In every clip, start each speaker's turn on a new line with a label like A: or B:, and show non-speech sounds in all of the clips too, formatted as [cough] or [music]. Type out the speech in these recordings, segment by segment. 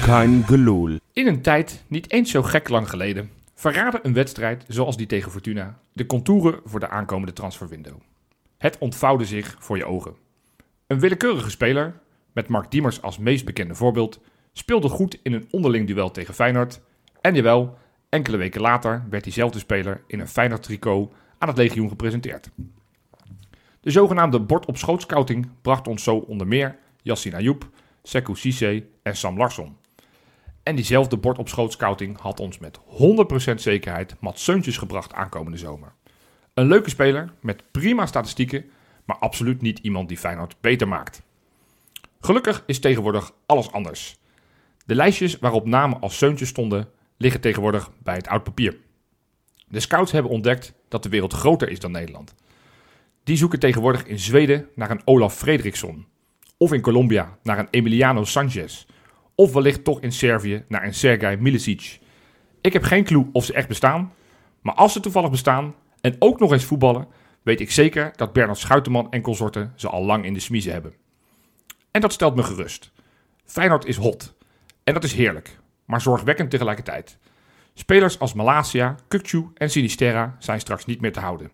A: kein gelul.
B: In een tijd niet eens zo gek lang geleden verraadde een wedstrijd zoals die tegen Fortuna de contouren voor de aankomende transferwindow. Het ontvouwde zich voor je ogen. Een willekeurige speler, met Mark Diemers als meest bekende voorbeeld, speelde goed in een onderling duel tegen Feyenoord. En jawel, enkele weken later werd diezelfde speler in een Feyenoord tricot aan het legioen gepresenteerd. De zogenaamde bord op schoot scouting bracht ons zo onder meer Yassine Ayoub, Sekou Cissé en Sam Larsson. En diezelfde bord op schoot scouting had ons met 100% zekerheid Mats Seuntjes gebracht aankomende zomer. Een leuke speler met prima statistieken, maar absoluut niet iemand die Feyenoord beter maakt. Gelukkig is tegenwoordig alles anders. De lijstjes waarop namen als Seuntjes stonden, liggen tegenwoordig bij het oud papier. De scouts hebben ontdekt dat de wereld groter is dan Nederland. Die zoeken tegenwoordig in Zweden naar een Olaf Fredriksson. Of in Colombia naar een Emiliano Sanchez. Of wellicht toch in Servië naar een Sergej Milicic. Ik heb geen clue of ze echt bestaan. Maar als ze toevallig bestaan en ook nog eens voetballen, weet ik zeker dat Bernard Schuitenman en consorten ze al lang in de smiezen hebben. En dat stelt me gerust. Feyenoord is hot. En dat is heerlijk, maar zorgwekkend tegelijkertijd. Spelers als Malasia, Kukcu en Sinisterra zijn straks niet meer te houden.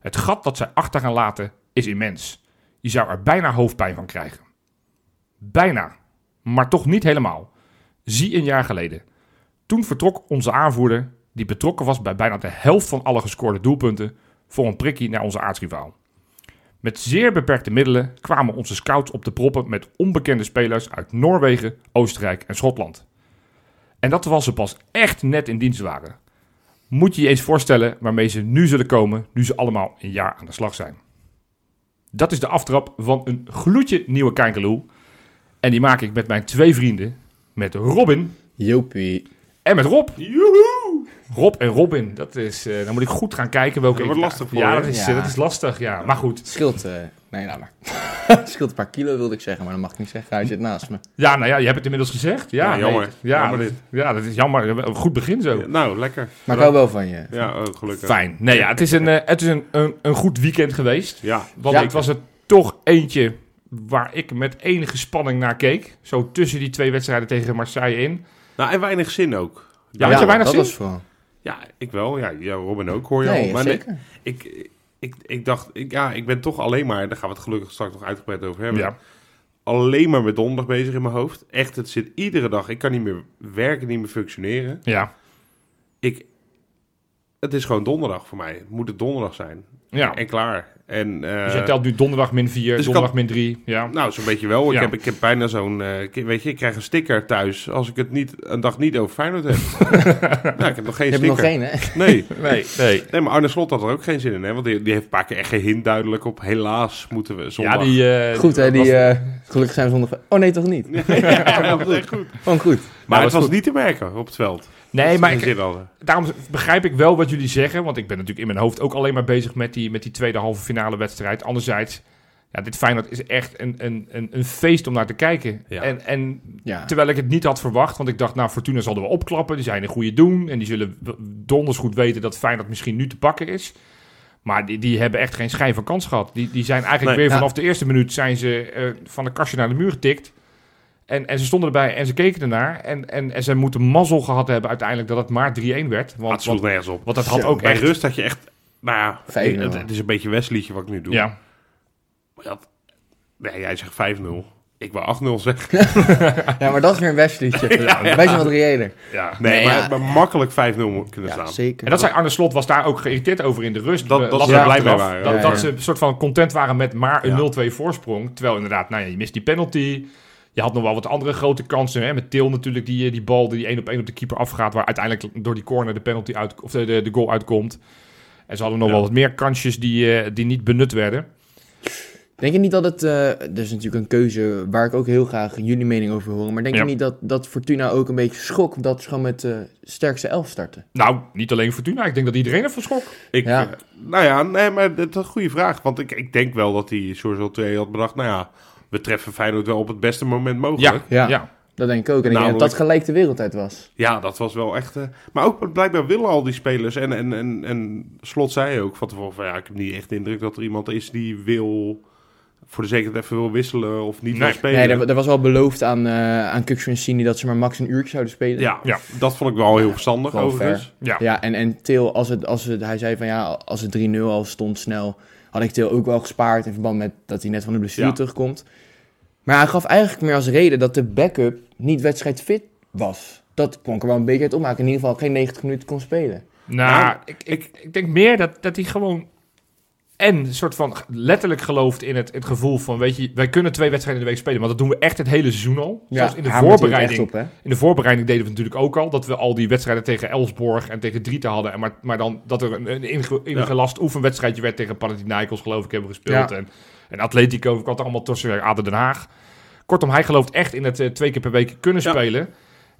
B: Het gat dat zij achter gaan laten is immens. Je zou er bijna hoofdpijn van krijgen. Bijna, maar toch niet helemaal. Zie een jaar geleden. Toen vertrok onze aanvoerder, die betrokken was bij bijna de helft van alle gescoorde doelpunten, voor een prikkie naar onze aardsrivaal. Met zeer beperkte middelen kwamen onze scouts op de proppen met onbekende spelers uit Noorwegen, Oostenrijk en Schotland. En dat terwijl ze pas echt net in dienst waren. Moet je je eens voorstellen waarmee ze nu zullen komen, nu ze allemaal een jaar aan de slag zijn. Dat is de aftrap van een gloedje nieuwe Kijkeloel. En die maak ik met mijn twee vrienden, met Robin
C: Jopie.
B: en met Rob. Rob en Robin, dat is, eh, dan moet ik goed gaan kijken welke...
D: Dat
B: ik-
D: wordt lastig voor
B: ja,
D: je.
B: dat is, eh,
C: Ja.
B: dat is lastig, ja. Maar goed,
C: Scheelt, eh, nee, laat maar. [laughs] scheelt een paar kilo, wilde ik zeggen, maar dat mag ik niet zeggen. Hij zit naast me.
B: Ja, nou ja, je hebt het inmiddels gezegd. Ja,
D: Ja, jammer.
B: nee. Ja,
D: Jammer
B: dat-
D: dit.
B: ja, dat is jammer. Een Goed begin zo.
D: Nou, lekker.
C: Maar ik hou wel van je.
D: Ja, oh, gelukkig.
B: Fijn. Nee, ja, het is, een, eh, het is een, een, een goed weekend geweest.
D: Ja,
B: Want
C: Ja.
B: het was er toch eentje waar ik met enige spanning naar keek. Zo tussen die twee wedstrijden tegen Marseille in.
D: nou en weinig zin ook.
B: Ja, had je weinig
C: dat
B: zin?
C: was vooral.
D: Ja, ik wel. Ja, ja Robin ook hoor je
C: nee,
D: al. Maar nee,
C: zeker.
D: ik, ik, ik dacht, ik, ja, ik ben toch alleen maar, daar gaan we het gelukkig straks nog uitgebreid over hebben.
B: Ja.
D: Alleen maar met donderdag bezig in mijn hoofd. Echt, het zit iedere dag. Ik kan niet meer werken, niet meer functioneren.
B: Ja.
D: Ik, het is gewoon donderdag voor mij. Het moet het donderdag zijn.
B: ja.
D: En klaar. En, eh,
B: Dus jij telt nu donderdag min 4,
D: dus ik
B: donderdag
D: kan-
B: min 3. Ja.
D: Nou, zo'n beetje wel. Ik,
B: Ja.
D: heb, ik heb bijna zo'n... eh, ik- weet je, ik krijg een sticker thuis als ik het niet, een dag niet over Feyenoord heb.
B: [laughs]
D: nou, ik heb nog geen
C: Je hebt er
D: sticker.
C: nog geen, hè?
D: Nee.
B: Nee, nee.
D: nee, maar Arne Slot had er ook geen zin in, hè? Want die, die heeft een paar keer echt gehint duidelijk op. Helaas moeten we zondag...
B: Ja, die... eh,
C: Goed, hè? Die,
B: was-
C: eh, gelukkig zijn we zondag... Oh, nee, toch niet?
D: [laughs] ja, dat was echt goed.
C: Gewoon goed.
D: Maar
B: was
D: het was
B: goed.
D: niet te merken op het veld.
B: nee,
D: Dat
B: maar
D: ze
B: ik,
D: geen zin hadden.
B: daarom begrijp ik wel wat jullie zeggen. Want ik ben natuurlijk in mijn hoofd ook alleen maar bezig met die, met die tweede halve finale wedstrijd. Anderzijds, ja, dit Feyenoord is echt een, een, een, een feest om naar te kijken.
D: Ja.
B: En, en
C: Ja.
B: terwijl ik het niet had verwacht, want ik dacht, nou, Fortuna zal er wel opklappen. Die zijn een goede doen en die zullen w- donders goed weten dat Feyenoord misschien nu te pakken is. Maar die, die hebben echt geen schijn van kans gehad. Die, die zijn eigenlijk
D: Nee,
B: weer
C: ja.
B: vanaf de eerste minuut zijn ze eh, van de kastje naar de muur getikt. En, en ze stonden erbij en ze keken ernaar. En, en, en ze moeten mazzel gehad hebben uiteindelijk dat het maar 3-1 werd. Want,
D: Het sloeg nergens op.
B: want dat had
C: Zo,
B: ook
D: Bij
B: echt...
D: rust had je echt... Nou ja,
C: 5-0.
D: het, het is een beetje Westliedje wat ik nu doe.
B: Ja.
D: Maar dat- nee, jij zegt 5-0. Ik wil 8-0 zeggen.
C: Ja, maar dat is weer een
B: [laughs]
C: westliedje. Wij zijn wat reëler.
B: ja.
D: Nee,
C: Nee,
D: maar,
C: ja.
D: maar makkelijk 5-0 mo- kunnen staan.
C: zeker.
B: En dat zei Arne Slot, was daar ook geïrriteerd over in de rust.
D: Dat-
B: Eh,
D: dat
B: las
D: ze
B: ik
D: er blij mee
B: achteraf,
D: waren.
B: Dat,
C: Ja,
B: dat
C: ja.
B: ze een soort van content waren met maar een
D: Ja.
B: 0-2 voorsprong. Terwijl inderdaad, nou ja, je mist die penalty. Je had nog wel wat andere grote kansen. Hè? Met Til natuurlijk, die, eh, die bal die één op één op de keeper afgaat. Waar uiteindelijk door die corner de, penalty uit, of de, de, de goal uitkomt. En ze hadden nog
D: Ja.
B: wel wat meer kansjes die, eh, die niet benut werden.
C: Denk je niet dat het... eh dat is natuurlijk een keuze waar ik ook heel graag jullie mening over hoor. Maar denk
B: Ja.
C: je niet dat, dat Fortuna ook een beetje schok dat ze gewoon met de sterkste elf starten?
B: Nou, niet alleen Fortuna. Ik denk dat iedereen ervan schrok.
D: Ik,
C: Ja.
D: eh, Nou ja, nee, maar dat is een goede vraag. Want ik, ik denk wel dat die George 2 had bedacht... Nou ja, we treffen Feyenoord wel op het beste moment mogelijk.
B: Ja, ja.
C: Ja. Dat denk ik ook. En
B: Nou,
C: ik denk dat
D: Namelijk-
C: dat gelijk de wereld uit was.
D: Ja, dat was wel echt. eh, maar ook blijkbaar willen al die spelers. En, en, en, en Slot zei ook van tevoren: van, ja, ik heb niet echt de indruk dat er iemand is die wil. voor de zekerheid even wil wisselen of niet
B: Nee.
D: wil spelen.
C: Nee, er, er was wel beloofd aan, eh aan Kuksu en Sini dat ze maar max een uurtje zouden spelen.
D: ja,
B: Ja.
D: dat vond ik wel heel verstandig
C: Gewoon
D: overigens.
C: fair.
B: Ja.
C: Ja, en, en Til, als het, als het, hij zei van ja, als het 3-0 al stond snel, had ik Til ook wel gespaard in verband met dat hij net van de blessure
D: Ja.
C: terugkomt. Maar hij gaf eigenlijk meer als reden dat de backup niet wedstrijdfit was. Dat klonk er wel een beetje uit opmaken. In ieder geval geen 90 minuten kon spelen.
B: Nou,
D: Nou,
B: ik, ik, ik denk meer dat, dat hij gewoon. En een soort van letterlijk gelooft in het, het gevoel van: weet je, wij kunnen twee wedstrijden in de week spelen. Want dat doen we echt het hele seizoen al. Zelfs in de,
C: hamert hij het
B: voorbereiding,
C: Echt op, hè?
B: in de voorbereiding deden we het natuurlijk ook al. Dat we al die wedstrijden tegen Elsborg en tegen Drita hadden. En maar, maar dan dat er een, een inge- ingelast oefenwedstrijdje werd tegen Panathinaikos, geloof ik, hebben we gespeeld. En, en Atletico kwam er allemaal tussen Aden Den Haag. Kortom, hij gelooft echt in het eh, twee keer per week kunnen
D: Ja.
B: spelen.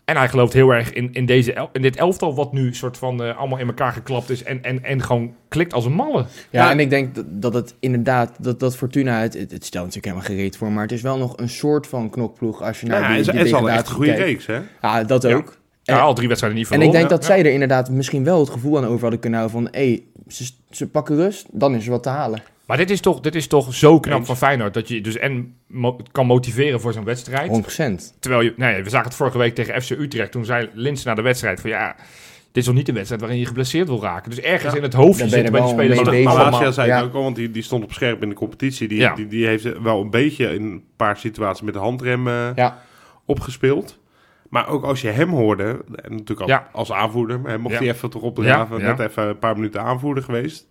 B: En hij gelooft heel erg in, in, deze el- in dit elftal, wat nu soort van eh, allemaal in elkaar geklapt is en, en, en gewoon klikt als een malle.
C: Ja,
D: Ja.
C: en ik denk dat, dat het inderdaad, dat, dat Fortuna, het, het, het stelt natuurlijk helemaal gereed voor, maar het is wel nog een soort van knokploeg als je
D: Ja,
C: naar Nou, die,
D: en ze
C: die
D: en ze hadden echt
C: degradatie
D: een goede
C: kijkt.
D: reeks, hè?
C: Ja, dat
D: Ja.
C: ook.
B: Ja,
C: En-
B: al drie wedstrijden niet
C: en ik
B: verloren.
C: denk dat
D: ja.
C: zij er inderdaad misschien wel het gevoel aan over hadden kunnen houden van... hé, ze, ze pakken rust, dan is er wat te halen.
B: Maar dit is, toch, dit is toch zo knap
D: Eens.
B: van Feyenoord, dat je dus en mo- kan motiveren voor zo'n wedstrijd.
C: 100%.
B: Terwijl je, nou ja, we zagen het vorige week tegen FC Utrecht. Toen zei Lins na de wedstrijd van ja, dit is nog niet een wedstrijd waarin je geblesseerd wil raken. Dus ergens
D: Ja.
B: in het hoofdje
C: Dan
B: zitten
C: ben
B: bij de
C: je er wel
B: spelers
C: mee
B: dat
C: bezig.
B: allemaal-
D: Malasia zei
C: ja.
D: het ook al, want die, die stond op scherp in de competitie. Die,
B: Ja.
D: die, die heeft wel een beetje in een paar situaties met de handrem eh,
C: Ja.
D: opgespeeld. Maar ook als je hem hoorde, en natuurlijk als,
B: Ja.
D: als aanvoerder, maar hij mocht
B: Ja.
D: hij even toch opdraven,
B: Ja, ja.
D: net even een paar minuten aanvoerder geweest.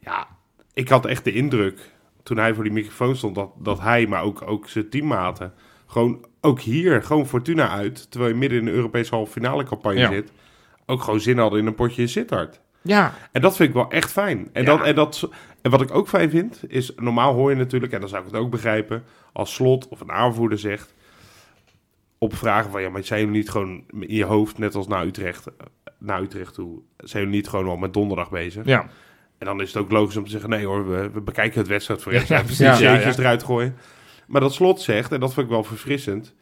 D: Ja, ik had echt de indruk, toen hij voor die microfoon stond, dat, dat hij, maar ook, ook zijn teammaten, gewoon ook hier, gewoon Fortuna uit, terwijl je midden in de Europese halve finale campagne
B: Ja.
D: zit, ook gewoon zin hadden in een potje in Sittard.
B: Ja,
D: En dat vind ik wel echt fijn. En,
B: Ja.
D: dat, en, dat, en wat ik ook fijn vind, is normaal hoor je natuurlijk, en dan zou ik het ook begrijpen, als slot of een aanvoerder zegt, op vragen van, ja, maar zijn jullie niet gewoon in je hoofd, net als naar Utrecht, eh, naar Utrecht toe, zijn jullie niet gewoon al met donderdag bezig?
B: ja.
D: En dan is het ook logisch om te zeggen, nee hoor, we, we bekijken het wedstrijd voor
B: Ja,
D: eerst. Ja,
B: ja,
D: precies.
B: precies. Ja, ja.
D: eruit gooien. Maar dat slot zegt, en dat vind ik wel verfrissend,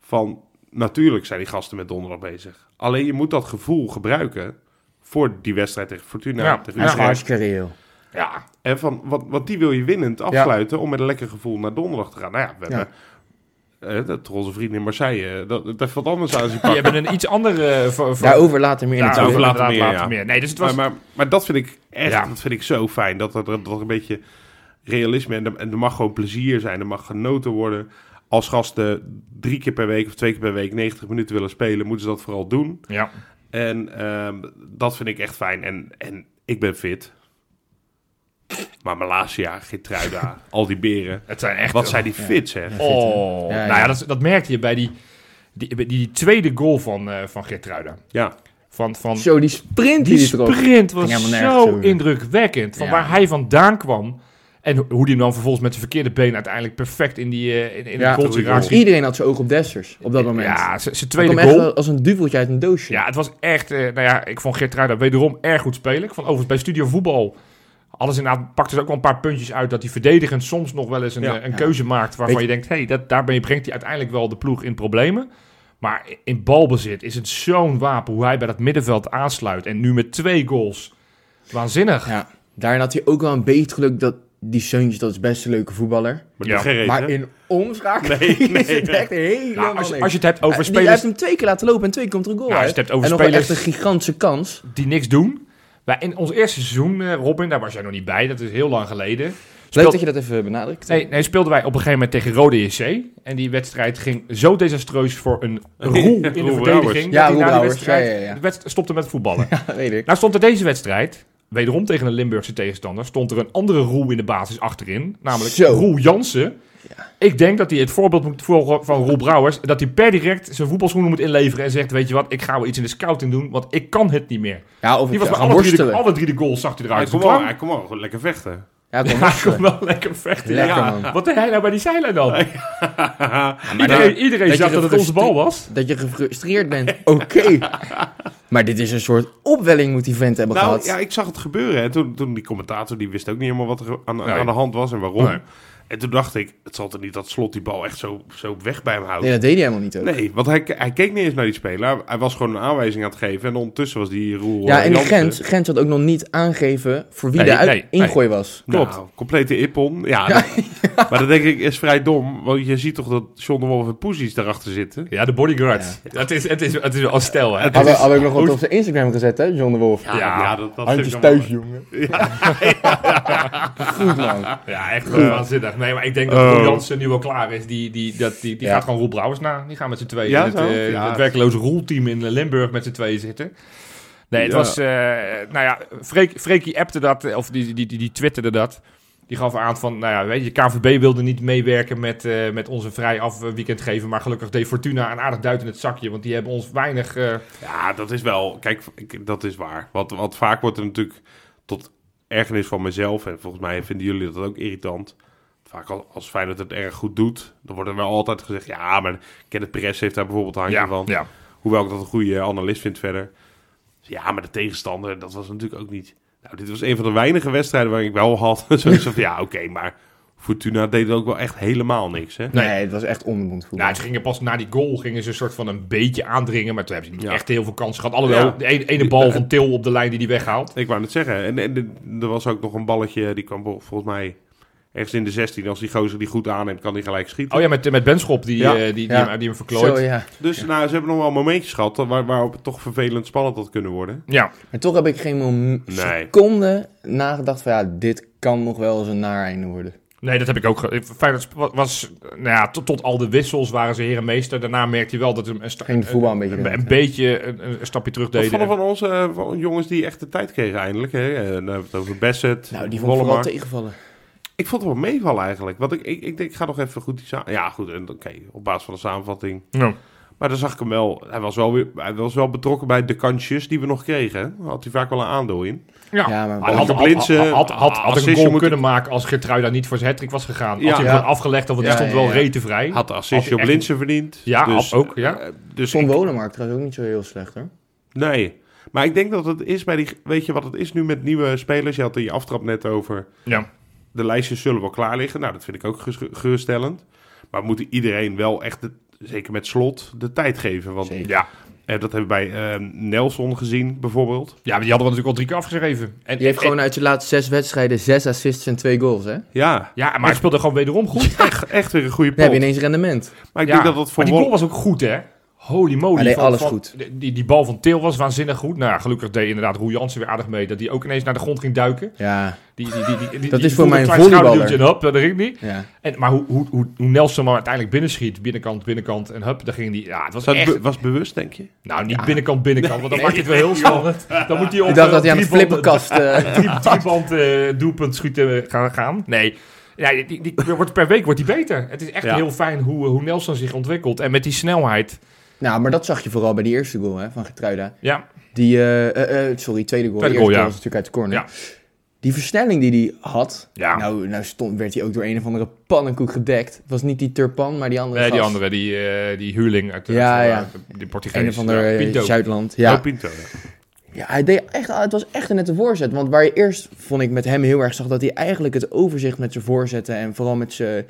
D: van natuurlijk zijn die gasten met donderdag bezig. Alleen je moet dat gevoel gebruiken voor die wedstrijd tegen Fortuna.
B: Ja,
D: tegen
B: ja.
C: Dat is
D: Utrecht.
C: hartstikke reëel.
B: ja.
D: En van, wat, wat die wil je winnend afsluiten om met een lekker gevoel naar donderdag te gaan. Nou ja, we
C: Ja.
D: hebben eh, de trotse vrienden in Marseille. eh, Dat, dat heeft wat anders
B: [laughs]
D: aan zien
B: Die
D: pakken.
B: hebben een iets andere... eh, voor- voor-
C: Daarover later meer in het
B: Daarover
D: natuurlijk.
B: later
D: Later meer,
B: later
D: ja.
B: meer. Nee, dus het was...
D: maar, maar, maar dat vind ik echt
B: Ja.
D: dat vind ik zo fijn. Dat er, dat er een beetje realisme en er, en er mag gewoon plezier zijn. Er mag genoten worden. Als gasten drie keer per week of twee keer per week 90 minuten willen spelen, moeten ze dat vooral doen.
B: ja.
D: En ehm, dat vind ik echt fijn. En, en ik ben fit. Maar Malasia, Gitruida,
B: [laughs]
D: al die beren.
B: Het zijn echt...
D: Wat zijn die fit, zeg.
B: Oh,
C: Ja,
B: nou
C: ja.
B: ja, dat, dat merkte je bij die, die, die, die tweede goal van, eh van Gertruiden.
D: Ja,
B: Van, van,
C: Zo, die sprint die,
B: Die
C: die erop.
B: sprint was
C: Ging helemaal nergens
B: zo
C: over.
B: indrukwekkend. Van
C: Ja.
B: waar hij vandaan kwam. En ho- hoe die hem dan vervolgens met zijn verkeerde been uiteindelijk perfect in, die, eh, in, in
C: Ja,
B: het goaltje
D: goeie
B: raakt.
D: goal.
C: Iedereen had zijn oog op Dessers op dat moment.
B: Ja, zijn
C: Hij
B: tweede
C: kwam echt
B: goal.
C: wel als een duveltje uit een doosje.
B: Ja, het was echt... eh, nou ja, ik vond Geert Ruida wederom erg goed spelen. Ik vond overigens bij Studio Voetbal... Alles inderdaad pakte ze ook wel een paar puntjes uit... dat die verdedigend soms nog wel eens een,
D: Ja.
B: eh, een
C: Ja.
B: keuze maakt... waarvan
C: Weet-
B: je denkt, hé, hey, daarmee brengt hij uiteindelijk wel de ploeg in problemen. Maar in balbezit is het zo'n wapen... hoe hij bij dat middenveld aansluit. En nu met twee goals. Waanzinnig.
C: Ja. Daarin had hij ook wel een beetje geluk dat die Seuntjes, dat is best een leuke voetballer.
D: maar
B: Ja.
D: ja. geen reden.
C: Maar in omschakeling
D: Nee, nee,
C: is het
D: nee.
C: echt helemaal
B: Nou, als, je-
C: niks.
B: als je het hebt
C: Hij-
B: over
C: Eh, die, hij
B: spelers
C: heeft hem twee keer laten lopen en twee keer komt er een goal
B: Nou, als
C: uit.
B: je het hebt over
C: en nog wel echt
B: spelers-
C: een gigantische kans.
B: die niks doen. Wij, in ons eerste seizoen, eh, Robin, daar was jij nog niet bij, dat is heel lang geleden.
C: Leuk
B: Speelt-
C: dat je dat even benadrukt.
B: Nee, nee, speelden wij op een gegeven moment tegen Rode JC. En die wedstrijd ging zo desastreus voor
D: [laughs]
B: een roel in de
D: Roel
B: verdediging.
D: Brouwers.
C: Ja,
B: dat hij na
C: Roel
B: die
C: Brouwers,
B: wedstrijd
C: ja, ja, ja.
B: de wedst- stopte met voetballen.
C: [laughs] Ja, [laughs] weet ik.
B: Nou stond er deze wedstrijd, wederom tegen een Limburgse tegenstander, stond er een andere roel in de basis achterin. Namelijk
C: Zo.
B: Roel Jansen. Ik denk dat hij het voorbeeld moet volgen van Roel Brouwers. Dat hij per direct zijn voetbalschoenen moet inleveren en zegt, weet je wat, ik ga wel iets in de scouting doen, want ik kan het niet meer.
C: Ja, of
B: Die was
C: het
B: bij
C: gaan
B: alle drie, de,
C: worstelen.
B: alle drie de goals zag hij
D: Hij
B: eruit.
D: kon
B: Toen
D: wel,
B: kwam-
D: hij kon wel gewoon lekker vechten.
C: Ja, kom
B: hij kon
C: worstelen.
B: wel lekker vechten.
C: Lekker
B: ja.
C: man.
B: Wat deed hij nou bij die zijlijn dan?
C: nou,
D: [laughs]
B: iedereen iedereen
C: dat
B: zag
C: je
B: dat het onze bal was.
C: gefrustreerd- Dat je gefrustreerd bent. Oké. Maar dit is een soort opwelling moet die vent hebben
D: Nou,
C: gehad.
D: ja, ik zag het gebeuren. En toen, toen die commentator, die wist ook niet helemaal wat er aan,
B: Nee.
D: aan de hand was en waarom.
B: Nee.
D: En toen dacht ik, het zal toch niet dat Slot die bal echt zo, zo weg bij hem houdt.
C: Nee, dat deed hij helemaal niet ook.
D: Nee, want hij, hij keek niet eens naar die speler. Hij was gewoon een aanwijzing aan het geven. En ondertussen was die Roel...
C: ja,
D: eh,
C: en die
D: Jansen.
C: Gent, Gent had ook nog niet aangegeven voor wie
B: Nee,
C: de uit-
B: nee, nee.
C: ingooi was.
B: Klopt.
D: Nou, complete ippon. Ja, dat- maar dat denk ik is vrij dom. Want je ziet toch dat John de Wolf en Poesies daarachter zitten.
B: Ja, de bodyguard. Het, is, het, is, het is wel een stijl, hè?
C: Had, had ik nog wat op zijn Instagram gezet, hè, John de Wolf.
D: Ja, dat, dat
C: Handjes
D: vind ik dan
C: thuis,
D: wel-
C: jongen. Goed, man.
B: Ja, echt wel waanzinnig. Nee, maar ik denk dat
D: Oh.
B: Roel Jansen nu wel klaar is. Die, die, dat, die, die
C: Ja.
B: gaat gewoon Roel Brouwers na. Die gaan met z'n tweeën
D: Ja,
B: in het,
D: zo?
B: eh,
D: Ja.
B: het werkeloze Roelteam in Limburg met z'n tweeën zitten. Nee, het
D: Ja.
B: was... eh, nou ja, Freek, Freekie appte dat, eh, of die, die, die, die twitterde dat. Die gaf aan van, nou ja, weet je, KVB wilde niet meewerken met, eh, met onze vrij af eh, weekend geven. Maar gelukkig deed Fortuna een aardig duit in het zakje. Want die hebben ons weinig... eh,
D: Ja, dat is wel... Kijk, ik- dat is waar. Want, want vaak wordt er natuurlijk tot ergernis van mezelf... en volgens mij vinden jullie dat ook irritant... Vaak al- als Feyenoord het erg goed doet... dan wordt er wel altijd gezegd... ja, maar Kenneth Perez heeft daar bijvoorbeeld een handje van.
B: ja.
D: Hoewel ik dat een goede analist vind verder. Dus Ja, maar de tegenstander, dat was natuurlijk ook niet... Nou, dit was een van de weinige wedstrijden waar ik wel had. [laughs] Zoiets van, ja, oké, maar Fortuna deed ook wel echt helemaal niks, hè?
C: Nee, het was echt ondermond voetbal.
B: Nou, ze gingen pas na die goal gingen ze een soort van een beetje aandringen. Maar toen hebben ze niet
D: Ja.
B: echt heel veel kansen gehad. Alhoewel,
D: Ja.
B: de ene, ene bal van Til op de lijn die die weghaalt.
D: Ik wou net zeggen. En, en er- er was ook nog een balletje, die kwam vol- volgens mij ergens in de 16. Als die gozer die goed aanneemt, kan die gelijk schieten.
B: Oh ja, met, met Benschop die,
D: Ja.
B: eh, die, die,
C: Ja.
B: Hem, die hem verklooit.
C: Zo, Oh, ja.
D: Dus nou, ze hebben nog wel momentjes gehad eh, waar, waarop het toch vervelend spannend had kunnen worden.
B: ja.
C: Maar toch heb ik geen mom-
D: Nee.
C: seconde nagedacht van ja, dit kan nog wel eens een naar einde worden.
B: Nee, dat heb ik ook. ge- Feyenoord sp- wa- was, nou ja, tot, tot al de wissels waren ze herenmeester. Daarna merkte je wel dat ze een, sta-
C: Ging het voetbal een beetje
B: een,
C: eruit,
B: een beetje een, een stapje terug
D: Wat
B: deden.
D: vonden van onze eh, van jongens die echt de tijd kregen eindelijk? Hè? En dan hebben we het over Bassett,
C: Nou, die vond ik vooral
D: Wollemar.
C: tegenvallen.
D: Ik vond het wel meevallen eigenlijk. Want ik, ik, ik, denk, ik ga nog even goed die sa- Ja, goed. en Oké, op basis van de samenvatting.
B: Ja.
D: Maar dan zag ik hem wel. Hij was wel, weer, hij was wel betrokken bij de kansjes die we nog kregen. hè. Had hij vaak wel een aandeel in.
B: Ja.
C: Ja, maar
B: Hij had,
D: de
B: had,
D: Blindse
C: eh,
B: had, had, had, had een
D: assistje
B: goal
D: moeten-
B: kunnen maken als Gertruida niet voor zijn hattrick was gegaan.
D: Ja.
B: Had hij hem
C: Ja.
B: gewoon afgelegd, want
C: Ja,
B: hij stond
C: ja,
B: wel
C: ja.
B: rete vrij.
D: Had de
B: Had
D: assistje
B: hij
D: op
B: echt-
D: Linsen verdiend.
B: Ja,
D: dus,
B: ook, ja.
D: eh, dus
C: Van
D: ik-
C: Wolemark trouwens ook niet zo heel slecht hoor.
D: nee. Maar ik denk dat het is bij die. Weet je wat het is nu met nieuwe spelers? Je had in je aftrap net over.
B: Ja.
D: De lijstjes zullen wel klaar liggen. Nou, dat vind ik ook gerust- geruststellend. Maar we moeten iedereen wel echt, de- zeker met slot, de tijd geven. Want
C: Zeker.
B: Ja.
D: Eh, dat hebben we bij eh, Nelson gezien, bijvoorbeeld.
B: ja, maar die hadden we natuurlijk al drie keer afgeschreven. En,
C: Die heeft
B: en-
C: gewoon uit zijn laatste zes wedstrijden zes assists en twee goals hè. Dan
D: Ja,
B: Ja, maar hij speelde gewoon wederom goed.
D: echt, echt weer een goede pot.
C: heb je ineens rendement.
D: Maar ik
B: Ja,
D: denk dat dat voor
B: maar die goal
D: Wol-
B: was ook goed, hè? Holy moly.
C: Hij deed
B: Van-
C: alles
B: van-
C: goed.
B: Die, die bal van Til was waanzinnig goed. Nou, ja, gelukkig deed inderdaad Roel Jansen weer aardig mee. Dat hij ook ineens naar de grond ging duiken.
C: Ja,
B: Die, die, die, die, die-
C: Dat
B: die
C: is voor
B: voelde
C: mij
B: een
C: een
B: klein
C: volleyballer.
B: schouderduwtje En hup, dat ging niet.
C: ja.
B: En, maar hoe, hoe, hoe, hoe Nelson maar uiteindelijk binnenschiet. Binnenkant, binnenkant. En hup, daar ging die. Ja, het was
D: Zou het
B: echt...
D: be- was bewust, denk je?
B: Nou, niet binnenkant, binnenkant. Want dan maakt het wel
D: [laughs]
B: heel spannend. Dan moet hij op
C: Ik dacht
B: eh,
C: dat hij aan de
B: drieband-
C: flipperkast...
B: [laughs]
C: eh,
B: drie- Drieband eh, doelpunt schieten gaan. gaan. Nee. Ja, die, die, die wordt, per week wordt hij beter. Het is echt
D: Ja.
B: heel fijn hoe, eh, hoe Nelson zich ontwikkelt. En met die snelheid.
C: nou, maar dat zag je vooral bij die eerste goal hè, van Getruida.
B: Ja,
C: Die, eh, eh, eh, sorry, tweede
B: Tweede
C: goal. de eerste
B: goal,
C: goal
B: ja.
C: was natuurlijk uit de corner.
B: Ja.
C: Die versnelling die hij had,
B: Ja.
C: nou, nou stond, werd hij ook door een of andere pannenkoek gedekt. Het was niet die Turpan, maar die andere
B: nee, die
C: gast.
B: andere, die, eh, die huurling uit de,
C: Ja,
B: van,
C: ja.
B: eh, die Portugees.
C: Een of andere
B: Ja,
C: eh,
B: Pinto.
C: Zuidland.
D: Ja.
C: Ja.
D: Pinto. ja.
C: ja, hij deed echt, het was echt een nette voorzet. Want waar je eerst, vond ik met hem heel erg, zag dat hij eigenlijk het overzicht met zijn voorzetten... en vooral met zijn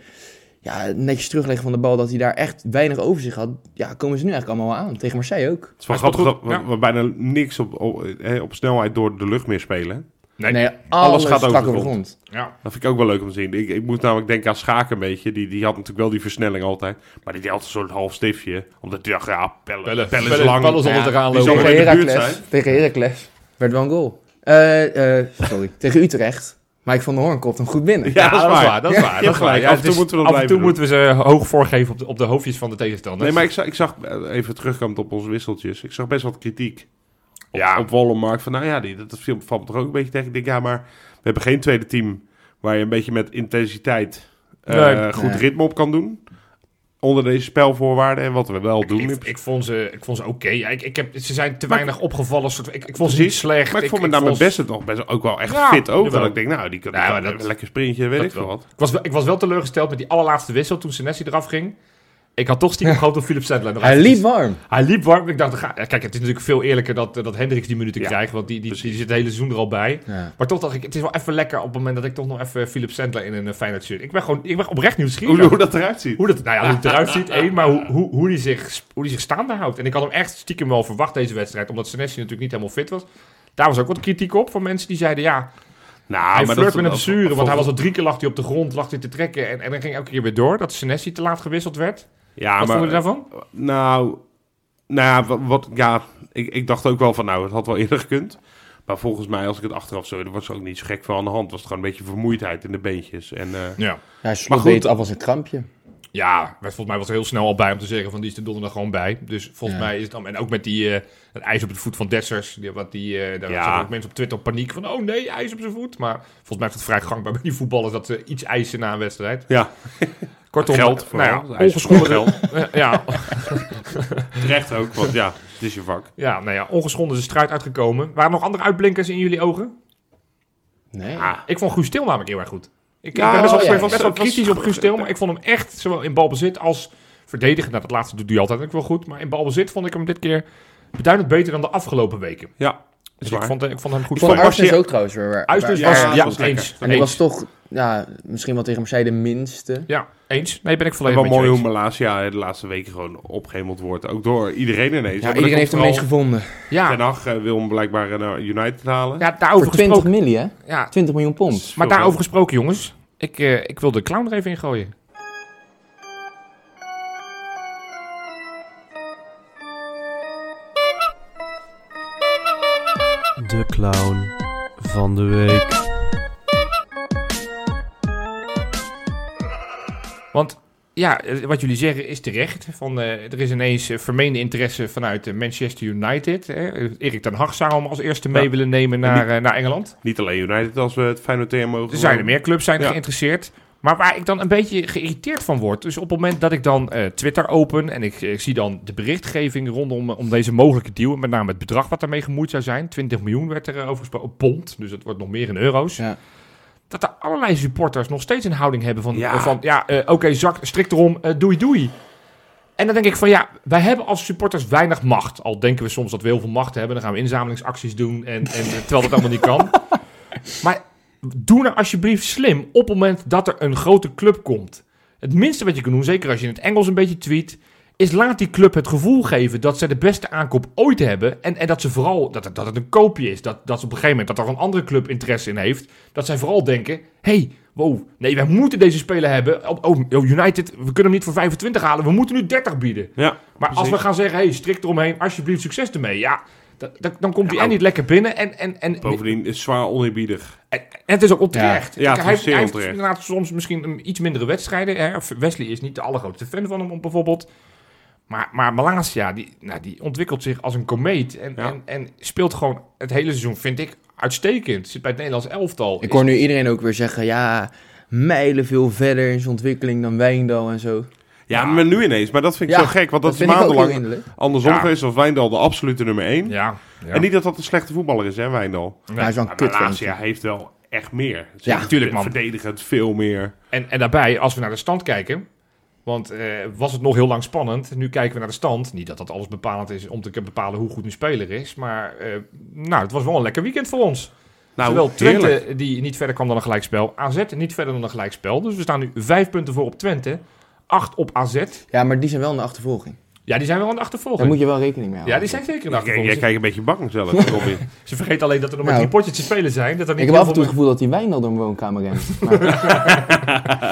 C: ja, netjes terugleggen van de bal, dat hij daar echt weinig overzicht had. Ja, komen ze nu eigenlijk allemaal wel aan. Tegen Marseille ook.
D: Het is wel
B: Hij
D: grappig
B: speelt
D: dat
B: goed,
D: we,
B: ja.
D: we bijna niks op, op, eh, op snelheid door de lucht meer spelen.
B: Nee.
C: Nee,
D: gaat
C: alles,
D: over
C: gaat strak
D: de
C: over de
D: grond.
C: grond.
B: Ja.
D: Dat vind ik ook wel leuk om te zien. Ik, ik moet namelijk denken aan Schaken een beetje. Die, die had natuurlijk wel die versnelling altijd. Maar die deed altijd een soort half stiftje. Omdat die dacht, ja, pellen, pellen, is lang.
B: Pellen zal
C: Ja,
B: het eraan
D: die zal
B: lopen.
D: wel
C: Tegen
D: in de buurt
C: Heracles,
D: zijn.
C: tegen Heracles werd wel een goal. Eh, eh, sorry, [laughs] tegen Utrecht. Mike van der Hoorn komt hem goed binnen.
D: Ja, dat is waar.
B: Dat is
D: Ja, je
B: waar. dat
D: hebt
B: is waar.
D: gelijk.
B: Ja,
D: Af en
B: het
D: toe
B: is-
D: moeten we dat
B: Af en toe
D: blijven
B: moeten we ze eh, hoog voorgeven op de, op de hoofdjes van de tegenstander.
D: Nee, maar ik zag, ik zag eh, even terugkomend op onze wisseltjes. Ik zag best wat kritiek op,
B: Ja.
D: op Wollemark. Van nou ja, die, dat viel, valt me toch ook een beetje tegen. Ik denk, ja, maar we hebben geen tweede team waar je een beetje met intensiteit eh,
B: Nee.
D: goed
C: Nee.
D: ritme op kan doen. Onder deze spelvoorwaarden en wat we wel doen.
B: ik, ik vond ze, ik vond ze oké. Ja, ik, ik heb, ze zijn te weinig opgevallen. Soort, ik, ik vond ze niet
D: Precies.
B: slecht.
D: maar ik vond me namelijk
B: vond-
D: best het nog best wel- ook wel echt
B: Ja,
D: fit over.
B: jawel.
D: Dat ik denk, nou, die kan
B: Ja, maar
D: die kan
B: dat-
D: een lekker sprintje, weet
B: dat
D: ik veel
B: wel.
D: wat.
B: Ik was, wel- ik was wel teleurgesteld met die allerlaatste wissel toen Senesi eraf ging. Ik had toch
C: [laughs]
B: stiekem gehoopt op Philip Sedler. nog
C: Hij
B: eventjes-
C: liep warm.
B: Hij liep warm. Ik dacht, dan ga- ja, kijk, het is natuurlijk veel eerlijker dat, eh, dat Hendricks die minuten
D: Ja,
B: krijgt. Want die, die, die
D: precies.
B: zit het hele seizoen er al bij.
C: Ja.
B: Maar toch dacht ik, het is wel even lekker op het moment dat ik toch nog even Philip Sandler in een eh, Feyenoord shirt. Ik ben gewoon ik ben oprecht
D: Hoe,
B: nieuwsgierig.
D: hoe dat eruit ziet.
B: Hoe dat, nou ja, hoe het eruit
C: [laughs]
B: ziet, één, maar hoe, hoe, hoe, die zich, hoe die zich staande houdt. En ik had hem echt stiekem wel verwacht deze wedstrijd, omdat Senesi natuurlijk niet helemaal fit was. Daar was ook wat kritiek op van mensen die zeiden, ja,
D: Nou,
B: hij
D: maar
B: flirt
D: dat-
B: met een blessure. Want hij was
D: dat-
B: al drie keer lag hij op de grond, lag hij te trekken en, en dan ging elke keer weer door. Dat Senesi te laat gewisseld werd.
D: Ja, Ah, maar,
B: wat
D: eh,
B: vond je daarvan?
D: Nou, nou ja, wat, wat- ja ik, ik dacht ook wel van, nou, het had wel eerder gekund. Maar volgens mij, als ik het achteraf zo, er was er ook niet zo gek van aan de hand. Was het gewoon een beetje vermoeidheid in de beentjes. En, [laughs] eh,
B: Ja.
C: Hij sloeg
D: Maar goed.
C: deed af als een krampje.
B: Ja, werd volgens mij was er heel snel al bij om te zeggen van die is de donderdag gewoon bij. Dus volgens
C: Ja.
B: mij is het dan... En ook met die eh, het ijs op het voet van Dessers. Die, wat die, eh, daar
D: Ja.
B: zaten ook mensen op Twitter op paniek van... Oh nee, ijs op zijn voet. Maar volgens mij is het vrij gangbaar bij die voetballers... dat ze iets eisen na een wedstrijd.
D: ja,
B: [laughs] Kortom,
D: geld
B: nou ja,
D: vooral. Hij is
B: ongeschonden
D: voor
B: geld. [laughs] ja,
D: terecht ook, want ja, het is je vak.
B: ja, nou ja, ongeschonden is de struit uitgekomen. Waren er nog andere uitblinkers in jullie ogen?
C: Nee.
D: Ja,
B: Ik vond Guus Til namelijk heel erg goed. Ik,
D: Ja,
B: ik ben best wel,
C: oh
B: ik
C: ja,
B: ben best wel
D: dat was-
B: kritisch op Guus Til... maar ik vond hem echt, zowel in balbezit als verdedigen... Nou, dat laatste doet hij altijd ook wel goed... maar in balbezit vond ik hem dit keer... Beduidend beter dan de afgelopen weken.
D: ja is
B: Dus ik
D: waar.
B: vond, ik vond hem goed.
C: Ik vond
D: Van
C: Uistens
D: Marcia-
C: ook trouwens weer. waar-
B: Uistens
C: waar-
D: dus was-
C: ja.
D: ja, was lekker.
B: eens.
C: En die was
B: Eens.
C: toch, ja, misschien wel tegen Marseille de minste.
B: Ja, eens. Nee, ben ik volledig
D: Wel
B: met je
D: mooi hoe
B: eens.
D: Malasia de laatste weken gewoon opgehemeld wordt. Ook door iedereen ineens.
C: Ja, iedereen heeft hem ineens gevonden.
B: Ja,
D: Ten Hag eh, wil hem blijkbaar naar United halen.
B: ja
C: nou, Voor
B: daarover
C: 20
B: gesproken.
C: miljoen, hè?
B: Ja,
C: 20 miljoen pond.
B: maar daarover gesproken, jongens. Ik, eh, ik wil de clown er even in gooien.
A: De clown van de week.
B: Want ja, eh, wat jullie zeggen is terecht. Van, eh, er is ineens eh, vermeende interesse vanuit eh, Manchester United. Hè. Erik ten Hag zou hem als eerste mee
D: Ja.
B: willen nemen naar, eh, naar Engeland.
D: Niet alleen United als we het Feyenoord tegen mogen.
B: Er zijn er meer clubs zijn
D: Ja.
B: geïnteresseerd. Maar waar ik dan een beetje geïrriteerd van word. Dus op het moment dat ik dan eh, Twitter open en ik, ik zie dan de berichtgeving rondom eh, om deze mogelijke deal. en Met name het bedrag wat daarmee gemoeid zou zijn. 20 miljoen werd er eh, over gesproken. Pond, dus dat wordt nog meer in euro's.
C: Ja.
B: Dat er allerlei supporters nog steeds een houding hebben van...
D: Ja.
B: eh, van ja, eh, oké, zak, strik erom, eh, doei, doei. En dan denk ik van ja, wij hebben als supporters weinig macht. Al denken we soms dat we heel veel macht hebben. Dan gaan we inzamelingsacties doen, en, en, eh, terwijl dat allemaal niet kan. Maar doe nou alsjeblieft slim op het moment dat er een grote club komt. Het minste wat je kan doen, zeker als je in het Engels een beetje tweet... is laat die club het gevoel geven dat ze de beste aankoop ooit hebben... en, en dat, ze vooral, dat, het, dat het een koopje is. Dat, dat ze op een gegeven moment dat er een andere club interesse in heeft. Dat zij vooral denken, hey, wow, nee, wij moeten deze speler hebben. Oh, oh, United, we kunnen hem niet voor 25 halen, we moeten nu 30 bieden.
D: Ja,
B: Maar als
D: Precies.
B: we gaan zeggen, hey, strik eromheen, alsjeblieft succes ermee. Ja, dat- dat- dan komt die
D: Ja,
B: en niet lekker binnen. En, en, en, en
D: bovendien is zwaar oneerbiedig.
B: het is ook onterecht.
D: Ja, ja, het is
B: hij, heeft-
D: zeer
B: hij heeft
D: onterecht.
B: inderdaad soms misschien een iets mindere wedstrijden. Hè. Wesley is niet de allergrootste fan van hem bijvoorbeeld. Maar, maar Malasia, die, nou, die ontwikkelt zich als een komeet. En,
D: Ja.
B: en, en speelt gewoon het hele seizoen, vind ik, uitstekend. Zit bij het Nederlands elftal.
C: Ik hoor nu iedereen ook weer zeggen, ja, mijlen veel verder in zijn ontwikkeling dan Wijndal en zo.
D: Ja, maar nu ineens. Maar dat vind ik
C: Ja,
D: zo gek. Want dat, is
C: vind ik ook heel
D: maandenlang
C: hinderlijk.
D: andersom
B: Ja.
D: geweest. Of Wijndal de absolute nummer 1.
B: Ja, ja.
D: En niet dat dat een slechte voetballer is, hè, Wijndal. Nou,
B: Nee.
C: Hij is wel een
D: Maar
C: kut
D: Malasia heeft wel echt meer.
C: Ja,
B: tuurlijk, man.
D: Verdedigend veel meer.
B: En, en daarbij, als we naar de stand kijken. Want eh, was het nog heel lang spannend. Nu kijken we naar de stand. Niet dat dat alles bepalend is om te kunnen bepalen hoe goed een speler is. Maar eh, nou, het was wel een lekker weekend voor ons.
D: Nou,
B: Zowel Twente,
D: heerlijk.
B: die niet verder kwam dan een gelijkspel. AZ niet verder dan een gelijkspel. Dus we staan nu vijf punten voor op Twente. Acht op AZ.
C: Ja, maar die zijn wel in de achtervolging.
B: Ja, die zijn wel aan de achtervolging.
C: Daar moet je wel rekening mee houden.
B: Ja, die zijn zeker
D: Jij,
B: een
D: jij
B: achtervolging.
D: kijkt een beetje bang zelf, Robin.
B: Ze- Ze vergeten alleen dat er nog maar
C: Nou.
B: drie potjes te spelen zijn. Dat er niet
C: Ik heb af en
B: heel
C: toe het
B: veel-
C: gevoel dat die Wijndal door mijn
B: [laughs]
C: woonkamer rent. Maar,